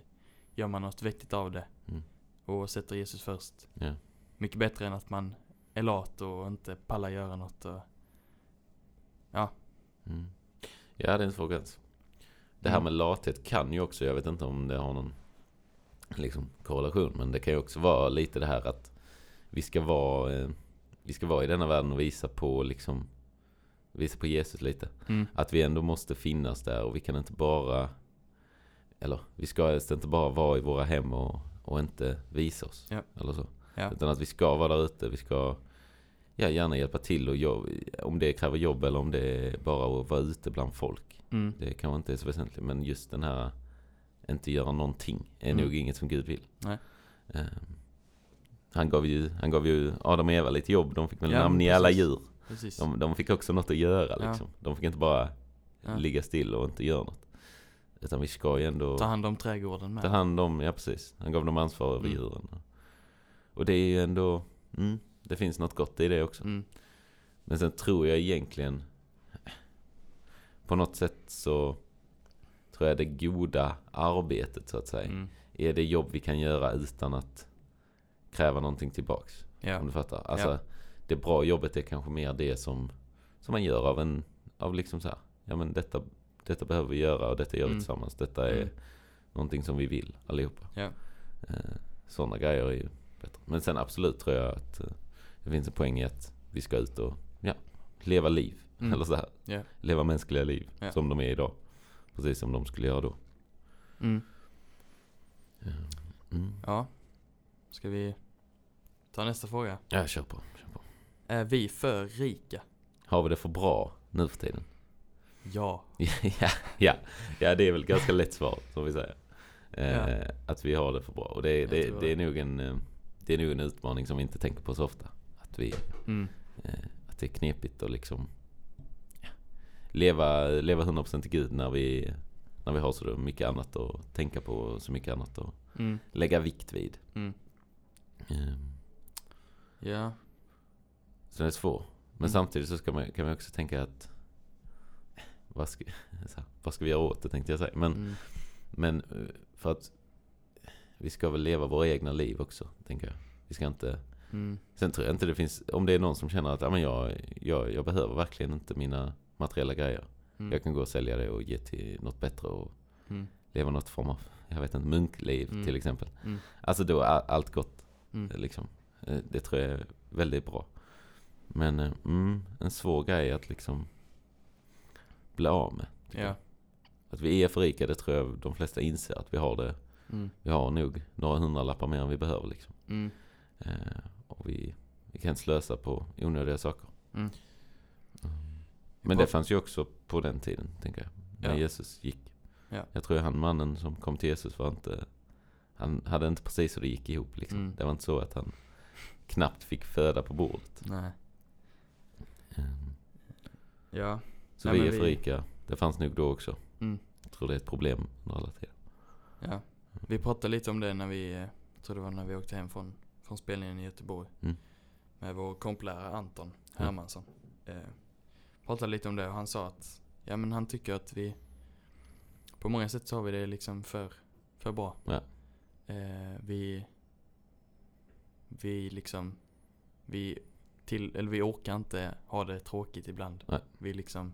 Speaker 2: gör man något vettigt av det.
Speaker 1: Mm.
Speaker 2: Och sätter Jesus först.
Speaker 1: Ja.
Speaker 2: Mycket bättre än att man är lat och inte pallar göra något. Och,
Speaker 1: Mm. Ja, det är en svår gräns. Det här
Speaker 2: Mm.
Speaker 1: med lathet kan ju också, jag vet inte om det har någon liksom, korrelation, men det kan ju också vara lite det här att vi ska vara, eh, vi ska vara i denna världen och visa på, liksom, visa på Jesus lite.
Speaker 2: mm.
Speaker 1: Att vi ändå måste finnas där och vi kan inte bara, eller vi ska helst inte bara vara i våra hem och, och inte visa oss.
Speaker 2: Ja.
Speaker 1: Eller så.
Speaker 2: Ja.
Speaker 1: Utan att vi ska vara där ute, vi ska ja, gärna hjälpa till och jobb, om det kräver jobb eller om det är bara att vara ute bland folk.
Speaker 2: Mm.
Speaker 1: Det kanske inte är så väsentligt, men just den här inte göra någonting är
Speaker 2: Mm.
Speaker 1: nog inget som Gud vill.
Speaker 2: Nej.
Speaker 1: Ehm, han, gav ju, han gav ju Adam och Eva lite jobb, de fick väl
Speaker 2: Ja, men
Speaker 1: namnge alla
Speaker 2: precis.
Speaker 1: djur.
Speaker 2: Precis.
Speaker 1: De, de fick också något att göra
Speaker 2: Ja.
Speaker 1: liksom. De fick inte bara
Speaker 2: Ja.
Speaker 1: ligga still och inte göra något. Utan vi ska ju ändå
Speaker 2: Ta hand om trädgården med.
Speaker 1: ta hand om, ja precis. Han gav dem ansvar över
Speaker 2: Mm.
Speaker 1: djuren. Och det är ju ändå, mm, det finns något gott i det också.
Speaker 2: Mm.
Speaker 1: Men sen tror jag egentligen, på något sätt så tror jag det goda arbetet så att säga,
Speaker 2: Mm.
Speaker 1: är det jobb vi kan göra utan att kräva någonting tillbaks.
Speaker 2: Ja.
Speaker 1: Om du fattar. Alltså, det bra jobbet är kanske mer det som, som man gör av en, av liksom så här, ja men detta, detta behöver vi göra och detta gör vi
Speaker 2: Mm.
Speaker 1: tillsammans. Detta är
Speaker 2: Mm.
Speaker 1: någonting som vi vill allihopa.
Speaker 2: Ja.
Speaker 1: Eh, sådana grejer är ju bättre. Men sen absolut tror jag att eh, det finns en poäng i att vi ska ut och ja, leva liv.
Speaker 2: Mm.
Speaker 1: Eller så här,
Speaker 2: Ja.
Speaker 1: leva mänskliga liv
Speaker 2: Ja.
Speaker 1: som de är idag. Precis som de skulle göra då.
Speaker 2: Mm.
Speaker 1: Eh, Mm.
Speaker 2: Ja. Ska vi ta nästa fråga?
Speaker 1: Ja, kör på, kör på.
Speaker 2: Är vi för rika?
Speaker 1: Har vi det för bra nu för tiden?
Speaker 2: Ja.
Speaker 1: ja, ja, ja, det är väl ganska lätt svar som vi säger. Eh,
Speaker 2: Ja.
Speaker 1: Att vi har det för bra. Och det,
Speaker 2: Jag
Speaker 1: det,
Speaker 2: tror
Speaker 1: det, är
Speaker 2: det.
Speaker 1: nog en, eh, det är nog en utmaning som vi inte tänker på så ofta. Att, vi,
Speaker 2: Mm.
Speaker 1: eh, att det är knepigt att liksom ja, leva, leva 100% i Gud när vi, när vi har så mycket annat att tänka på och så mycket annat att
Speaker 2: Mm.
Speaker 1: lägga vikt vid.
Speaker 2: Mm.
Speaker 1: Eh,
Speaker 2: Ja.
Speaker 1: Så den är svår. Men
Speaker 2: Mm.
Speaker 1: samtidigt så ska man, kan man också tänka att "Eh, vad ska, så här, vad ska vi göra åt det tänkte jag säga. Men
Speaker 2: Mm.
Speaker 1: Men eh, för att vi ska väl leva våra egna liv också, tänker jag. Vi ska inte...
Speaker 2: Mm.
Speaker 1: Sen tror jag inte det finns... Om det är någon som känner att ja, men jag, jag, jag behöver verkligen inte mina materiella grejer.
Speaker 2: Mm.
Speaker 1: Jag kan gå och sälja det och ge till något bättre och
Speaker 2: Mm.
Speaker 1: leva något form av, jag vet inte, munkliv
Speaker 2: Mm.
Speaker 1: till exempel.
Speaker 2: Mm.
Speaker 1: Alltså då är allt gott,
Speaker 2: Mm.
Speaker 1: eh, liksom. Eh, Det tror jag är väldigt bra. Men eh, mm, en svår grej att liksom bli av med. tycker
Speaker 2: Ja.
Speaker 1: jag. Att vi är för rika, det tror jag de flesta inser att vi har det
Speaker 2: Mm.
Speaker 1: vi har nog några hundralappar mer än vi behöver liksom.
Speaker 2: Mm.
Speaker 1: Eh, och vi, vi kan slösa på onödiga saker. Mm.
Speaker 2: Mm.
Speaker 1: Men
Speaker 2: Bra.
Speaker 1: det fanns ju också på den tiden, tänker jag. När
Speaker 2: Ja.
Speaker 1: Jesus gick.
Speaker 2: Ja.
Speaker 1: Jag tror han mannen som kom till Jesus var inte... Han hade inte precis hur det gick ihop liksom.
Speaker 2: Mm.
Speaker 1: Det var inte så att han knappt fick föda på bordet.
Speaker 2: Nej.
Speaker 1: Eh,
Speaker 2: Ja.
Speaker 1: Så
Speaker 2: Nej,
Speaker 1: vi är
Speaker 2: men
Speaker 1: för
Speaker 2: vi-
Speaker 1: rika. Det fanns nog då också.
Speaker 2: Mm.
Speaker 1: Jag tror det är ett problem under alla tider.
Speaker 2: Ja. Vi pratade lite om det när vi, eh, jag tror det var när vi åkte hem från, från spelningen i Göteborg.
Speaker 1: Mm.
Speaker 2: Med vår komplärare Anton Hermansson. Eh, pratade lite om det och han sa att, ja men han tycker att vi, på många sätt så har vi det liksom för, för bra.
Speaker 1: Ja.
Speaker 2: Eh, vi, vi liksom, vi, till, eller vi orkar inte ha det tråkigt ibland.
Speaker 1: Nej.
Speaker 2: Vi liksom,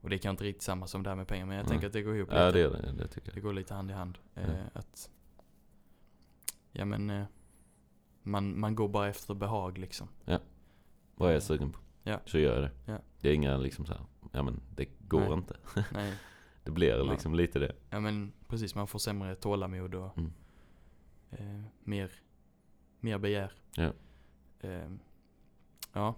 Speaker 2: och det kan inte riktigt samma som det här med pengar men jag
Speaker 1: Nej.
Speaker 2: tänker att det går ihop
Speaker 1: Ja, det är det. Det tycker
Speaker 2: det
Speaker 1: jag.
Speaker 2: går lite hand i hand.
Speaker 1: Ja.
Speaker 2: Eh, att, ja men, eh, man, man går bara efter behag liksom.
Speaker 1: Vad jag är sugen på.
Speaker 2: Ja.
Speaker 1: Så gör jag det.
Speaker 2: Ja.
Speaker 1: Det är inga liksom så här, ja men det går
Speaker 2: Nej.
Speaker 1: inte.
Speaker 2: Nej,
Speaker 1: Det blir
Speaker 2: Nej.
Speaker 1: liksom lite det.
Speaker 2: ja men precis, man får sämre tålamod och
Speaker 1: Mm.
Speaker 2: eh, mer, mer begär.
Speaker 1: Ja.
Speaker 2: Eh, ja.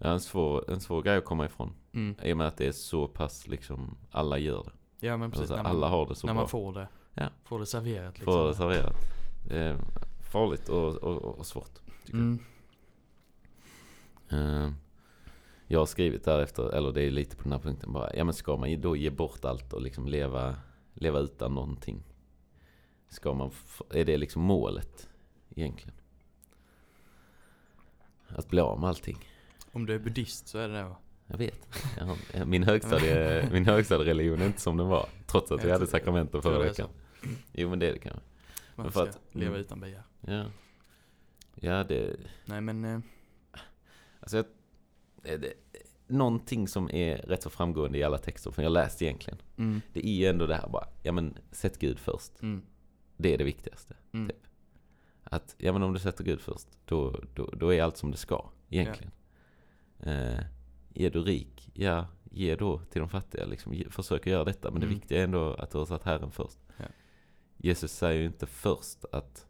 Speaker 1: Ja, en, svår, en svår grej att komma ifrån.
Speaker 2: Mm.
Speaker 1: I och med att det är så pass liksom, alla gör det.
Speaker 2: ja men precis,
Speaker 1: alltså,
Speaker 2: när,
Speaker 1: alla
Speaker 2: man,
Speaker 1: har det så
Speaker 2: när
Speaker 1: bra.
Speaker 2: man får det.
Speaker 1: Ja.
Speaker 2: Får det serverat liksom.
Speaker 1: Får det serverat. Det är farligt och, och, och svårt. Tycker
Speaker 2: Mm.
Speaker 1: jag. Eh, jag har skrivit därefter, eller det är lite på den här punkten bara. Ja men ska man ju då ge bort allt och liksom leva, leva utan någonting? Ska man, f- är det liksom målet egentligen? Att bli av med allting?
Speaker 2: Om du är buddhist så är det det va?
Speaker 1: Jag vet. Jag har- Min högstadie, min högstadiereligion är inte som den var. Trots att vi
Speaker 2: Jag
Speaker 1: hade
Speaker 2: tror-
Speaker 1: sakramenten
Speaker 2: tror
Speaker 1: förra
Speaker 2: det är så.
Speaker 1: veckan. Jo men det är det kanske.
Speaker 2: Man
Speaker 1: för
Speaker 2: ska
Speaker 1: att-
Speaker 2: leva
Speaker 1: mm.
Speaker 2: utan begär.
Speaker 1: Ja. Ja det,
Speaker 2: Nej men, eh,
Speaker 1: alltså jag, det, det, Någonting som är rätt så framgående i alla texter som jag läst egentligen.
Speaker 2: mm,
Speaker 1: Det är ju ändå det här bara, ja men sätt Gud först.
Speaker 2: mm,
Speaker 1: Det är det viktigaste.
Speaker 2: mm,
Speaker 1: Typ. Att, ja men om du sätter Gud först, då, då, då är allt som det ska egentligen. Eh, är du rik, ja, ge då till de fattiga. Liksom, ge, försök att göra detta. Men det
Speaker 2: Mm.
Speaker 1: viktiga är ändå att du har satt Herren först.
Speaker 2: Ja.
Speaker 1: Jesus säger ju inte först att,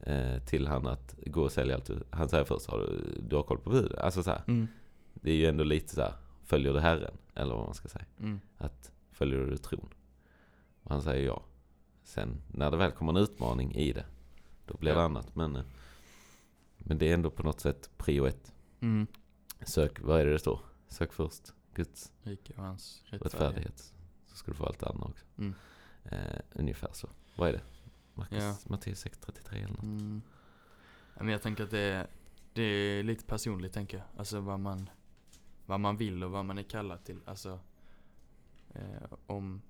Speaker 1: eh, till han att gå och sälja allt. du- Han säger först, har du, du har koll på bud. Alltså så här,
Speaker 2: mm,
Speaker 1: det är ju ändå lite så här, följer du Herren? Eller vad man ska säga.
Speaker 2: mm,
Speaker 1: Följer du tron? Och han säger ja. Sen när det väl kommer en utmaning i det, då blir det
Speaker 2: Ja.
Speaker 1: annat. Men, eh, men det är ändå på något sätt prio ett.
Speaker 2: mm.
Speaker 1: Sök, vad är det det står? Sök först Guds
Speaker 2: Rike och hans rättfärdighet.
Speaker 1: rättfärdighet. Så ska du få allt annat också.
Speaker 2: Mm.
Speaker 1: Eh, ungefär så. Vad är det? Marcus,
Speaker 2: Ja.
Speaker 1: Matteus 6.33 eller något.
Speaker 2: Mm. Ja, Men jag tänker att det är, det är lite personligt tänker jag. Alltså vad man, vad man vill och vad man är kallad till. Alltså eh, om,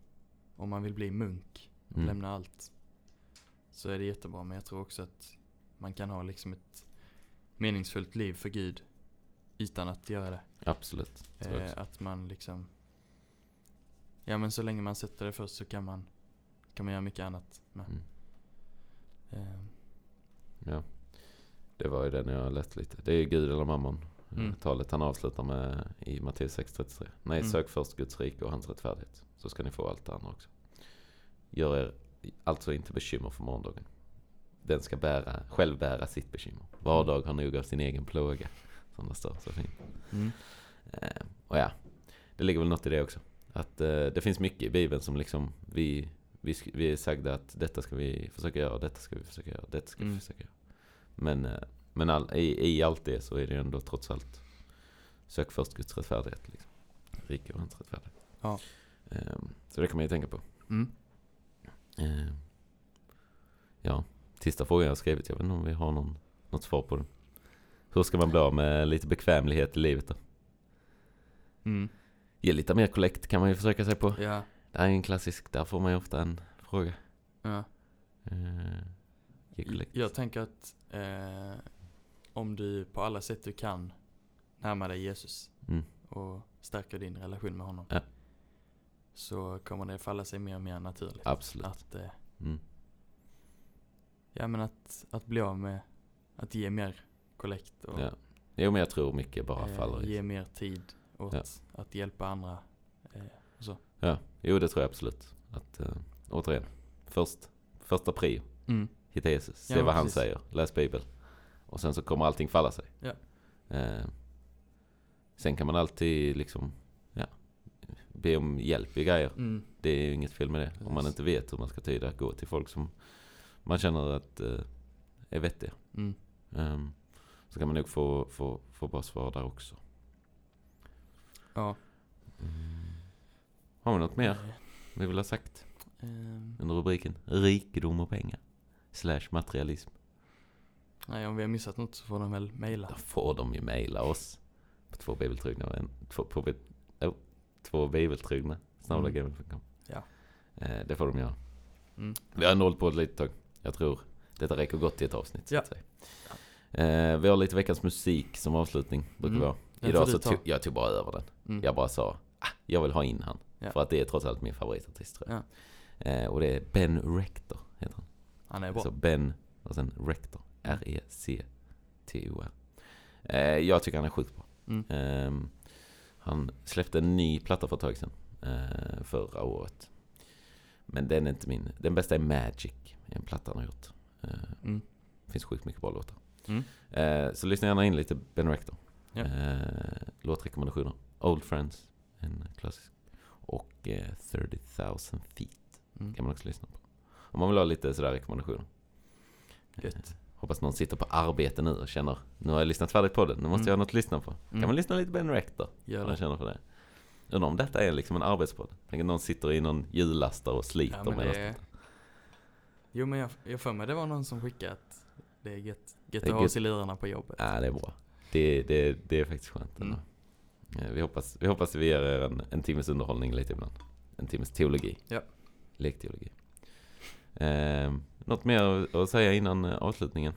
Speaker 2: om man vill bli munk och
Speaker 1: Mm.
Speaker 2: lämna allt så är det jättebra. Men jag tror också att man kan ha liksom ett meningsfullt liv för Gud utan att göra det.
Speaker 1: Mm. Absolut. tror jag
Speaker 2: Eh,
Speaker 1: också.
Speaker 2: att man liksom... Ja men så länge man sätter det först så kan man, kan man göra mycket annat med.
Speaker 1: Mm.
Speaker 2: Eh,
Speaker 1: Ja. Det var ju den jag lät lite. Det är ju Gud eller mammon. eh,
Speaker 2: Mm.
Speaker 1: Talet han avslutar med i Matteus 6.33. Nej,
Speaker 2: Mm.
Speaker 1: sök först Guds rike och hans rättfärdighet. Så ska ni få allt det andra också. Gör er alltså inte bekymmer för morgondagen. Den ska bära, själv bära sitt bekymmer. Var dag har nog av sin egen plåga. Som det står så fint.
Speaker 2: mm.
Speaker 1: Eh, och ja, det ligger väl något i det också. Att eh, det finns mycket i Bibeln som liksom vi, vi, sk- vi är sagda att detta ska vi försöka göra, detta ska vi försöka göra, detta ska vi
Speaker 2: Mm.
Speaker 1: försöka göra. Men, eh, men all, i, i allt det så är det ju ändå trots allt sök först Guds rättfärdighet. Liksom. Rike och hans rättfärdighet.
Speaker 2: Ja.
Speaker 1: Eh, så det kan man ju tänka på.
Speaker 2: Mm.
Speaker 1: Eh, ja, sista frågan jag har skrivit, jag vet inte om vi har någon, något svar på den. Hur ska man bli av med lite bekvämlighet i livet då?
Speaker 2: Mm.
Speaker 1: Ge lite mer kollekt kan man ju försöka sig på.
Speaker 2: Ja.
Speaker 1: Det här är en klassisk, där får man ju ofta en fråga.
Speaker 2: ja.
Speaker 1: Eh, ge kollekt.
Speaker 2: Jag tänker att eh, om du på alla sätt du kan närmar dig Jesus
Speaker 1: Mm.
Speaker 2: och stärker din relation med honom.
Speaker 1: Ja.
Speaker 2: Så kommer det falla sig mer och mer naturligt.
Speaker 1: Absolut.
Speaker 2: Att, eh,
Speaker 1: Mm.
Speaker 2: ja, men att, att bli av med, att ge mer kollekt och
Speaker 1: Ja. Jo men jag tror mycket bara faller
Speaker 2: eh,
Speaker 1: i.
Speaker 2: ge mer tid åt
Speaker 1: Ja.
Speaker 2: att hjälpa andra. Eh, och så.
Speaker 1: Ja. Jo det tror jag absolut. Att, eh, återigen, först, första prio,
Speaker 2: Mm.
Speaker 1: hitta Jesus, se
Speaker 2: Ja, men
Speaker 1: vad han
Speaker 2: precis.
Speaker 1: säger, läs bibeln. Och sen så kommer allting falla sig.
Speaker 2: Ja.
Speaker 1: Eh, sen kan man alltid liksom, ja, be om hjälp i grejer.
Speaker 2: Mm.
Speaker 1: Det är ju inget fel med det. Om man
Speaker 2: Precis.
Speaker 1: inte vet hur man ska tyda, gå till folk som man känner att eh, är vettiga.
Speaker 2: Mm.
Speaker 1: Ehm, så kan man nog få, få, få bra svar där också.
Speaker 2: Ja.
Speaker 1: Har vi något mer
Speaker 2: Eh,
Speaker 1: vi vill ha sagt
Speaker 2: ehm,
Speaker 1: under rubriken rikedom och pengar? Slash materialism.
Speaker 2: nej, om vi har missat något så får de väl mejla.
Speaker 1: Då får de ju mejla oss. På två bibeltrogna och en, två, på, bi- oh, två bibeltrogna. Snabblagamel.com.
Speaker 2: Mm. Ja.
Speaker 1: Eh, det får de göra.
Speaker 2: Mm.
Speaker 1: Vi har ändå hållit på ett litet tag. Jag tror detta räcker gott i ett avsnitt. Så
Speaker 2: Ja.
Speaker 1: att säga. Eh, vi har lite veckans musik som avslutning. Brukar
Speaker 2: Mm.
Speaker 1: vi ha.
Speaker 2: Den
Speaker 1: Idag
Speaker 2: får
Speaker 1: så typ-
Speaker 2: du ta.
Speaker 1: tog, jag tog bara över den.
Speaker 2: Mm.
Speaker 1: Jag bara sa, ah, jag vill ha in han.
Speaker 2: Ja.
Speaker 1: För att det är trots allt min favoritartist tror jag. Eh, och det är Ben Rector heter han.
Speaker 2: Han är bra.
Speaker 1: Alltså Ben och sen Rector. E R-E-C-T-O-R. Eh, jag tycker han är sjukt bra.
Speaker 2: Mm.
Speaker 1: Ehm, han släppte en ny platta för ett tag sedan. Eh, förra året. Men den är inte min. Den bästa är Magic. En platta han har gjort. Eh,
Speaker 2: Mm.
Speaker 1: det finns sjukt mycket bra låtar.
Speaker 2: Mm.
Speaker 1: Eh, så lyssna gärna in lite Ben Rector.
Speaker 2: Ja.
Speaker 1: Eh, låtrekommendationer. Old Friends, en klassisk. Och eh, 30,000 feet
Speaker 2: Mm.
Speaker 1: kan man också lyssna på. Om man vill ha lite sådär rekommendationer. Eh,
Speaker 2: Gött.
Speaker 1: Hoppas någon sitter på arbete nu och känner nu har jag lyssnat färdigt på den, nu måste
Speaker 2: Mm.
Speaker 1: jag ha något att lyssna på. Kan
Speaker 2: Mm.
Speaker 1: man lyssna lite på en Rector?
Speaker 2: Gör
Speaker 1: Om man
Speaker 2: det.
Speaker 1: känner för det. Undrar om detta är liksom en arbetspodd? Tänk att någon sitter i någon hjullastare och sliter
Speaker 2: Ja,
Speaker 1: med
Speaker 2: men
Speaker 1: det.
Speaker 2: det... Jo men jag, jag för mig det var någon som skickade att det är gött, gött
Speaker 1: Det är
Speaker 2: att ha
Speaker 1: gött.
Speaker 2: oss i lirarna på jobbet.
Speaker 1: Ja, Äh, det är bra. Det, det, det är faktiskt skönt ändå.
Speaker 2: Mm.
Speaker 1: Eh, Vi hoppas, vi hoppas vi ger er en, en timmes underhållning lite ibland. En timmes teologi.
Speaker 2: Ja.
Speaker 1: Lekteologi. Eh, något mer att- att säga innan eh, avslutningen?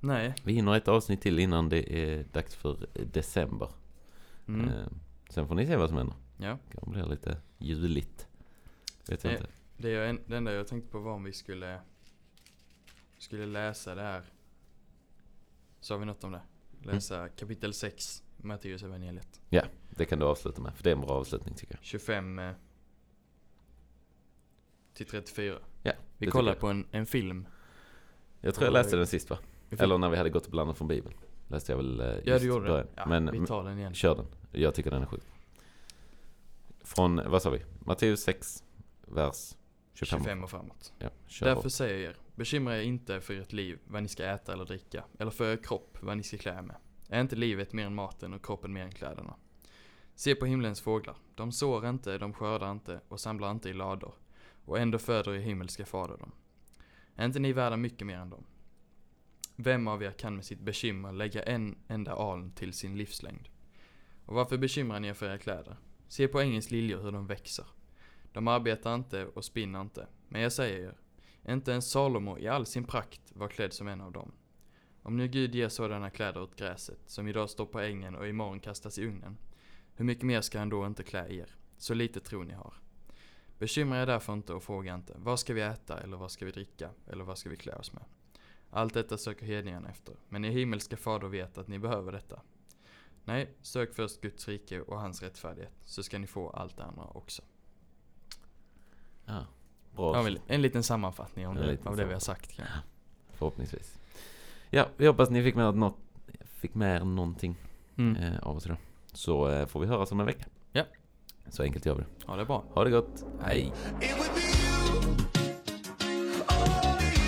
Speaker 2: Nej.
Speaker 1: Vi hinner ett avsnitt till innan det är dags för eh, december.
Speaker 2: Mm.
Speaker 1: Eh, sen får ni se vad som händer.
Speaker 2: Ja.
Speaker 1: Det kan bli lite juligt. Vet jag
Speaker 2: Eh.
Speaker 1: inte.
Speaker 2: Det, jag, en- det enda jag tänkte på var om vi skulle, skulle läsa det här. Sa vi något om det? Läsa
Speaker 1: Mm.
Speaker 2: kapitel 6, Matteus evangeliet.
Speaker 1: Det kan du avsluta med, för det är en bra avslutning tycker jag.
Speaker 2: 25 eh, till 34.
Speaker 1: Ja,
Speaker 2: Vi
Speaker 1: det
Speaker 2: kollar
Speaker 1: tycker
Speaker 2: på en, en film.
Speaker 1: Jag tror jag läste den sist va?
Speaker 2: Vi fick-
Speaker 1: Eller när vi hade gått och blandat från Bibeln. Läste jag väl eh, just
Speaker 2: Ja du gjorde
Speaker 1: början.
Speaker 2: det. Ja,
Speaker 1: Men
Speaker 2: vi tar den igen.
Speaker 1: Kör den. Jag tycker den är sjuk. Från, vad sa vi? Matteus 6, vers 25.
Speaker 2: 25 och framåt.
Speaker 1: Ja, kör
Speaker 2: Därför
Speaker 1: hårt.
Speaker 2: säger jag er, bekymra er inte för ert liv, vad ni ska äta eller dricka, eller för er kropp, vad ni ska klä er med. Är inte livet mer än maten och kroppen mer än kläderna? Se på himlens fåglar, de sår inte, de skördar inte och samlar inte i lador, och ändå föder er himmelska fader dem. Är inte ni värda mycket mer än dem? Vem av er kan med sitt bekymmer lägga en enda aln till sin livslängd? Och varför bekymrar ni er för era kläder? Se på ängens liljor hur de växer. De arbetar inte och spinner inte, men jag säger er, Inte ens Salomo i all sin prakt var klädd som en av dem. Om nu Gud ger sådana kläder åt gräset, som idag står på ängen och imorgon kastas i ugnen, hur mycket mer ska han då inte klä er? Så lite tro ni har. Bekymra er därför inte och fråga inte, vad ska vi äta eller vad ska vi dricka eller vad ska vi klä oss med? Allt detta söker hedningarna efter, men er himmelska fader vet att ni behöver detta. Nej, sök först Guds rike och hans rättfärdighet, så ska ni få allt det andra också.
Speaker 1: Ja.
Speaker 2: Ja,
Speaker 1: Bra,
Speaker 2: väl, en liten sammanfattning om
Speaker 1: En
Speaker 2: det,
Speaker 1: liten
Speaker 2: av det vi har sagt. kanske.
Speaker 1: förhoppningsvis. Ja, vi hoppas ni fick med, något, fick med er någonting
Speaker 2: Mm.
Speaker 1: eh, av oss idag. Så eh, får vi höras om en vecka.
Speaker 2: Ja.
Speaker 1: Så enkelt gör vi det.
Speaker 2: Ha det bra.
Speaker 1: Ha det gott. Hej.
Speaker 3: It would be you, only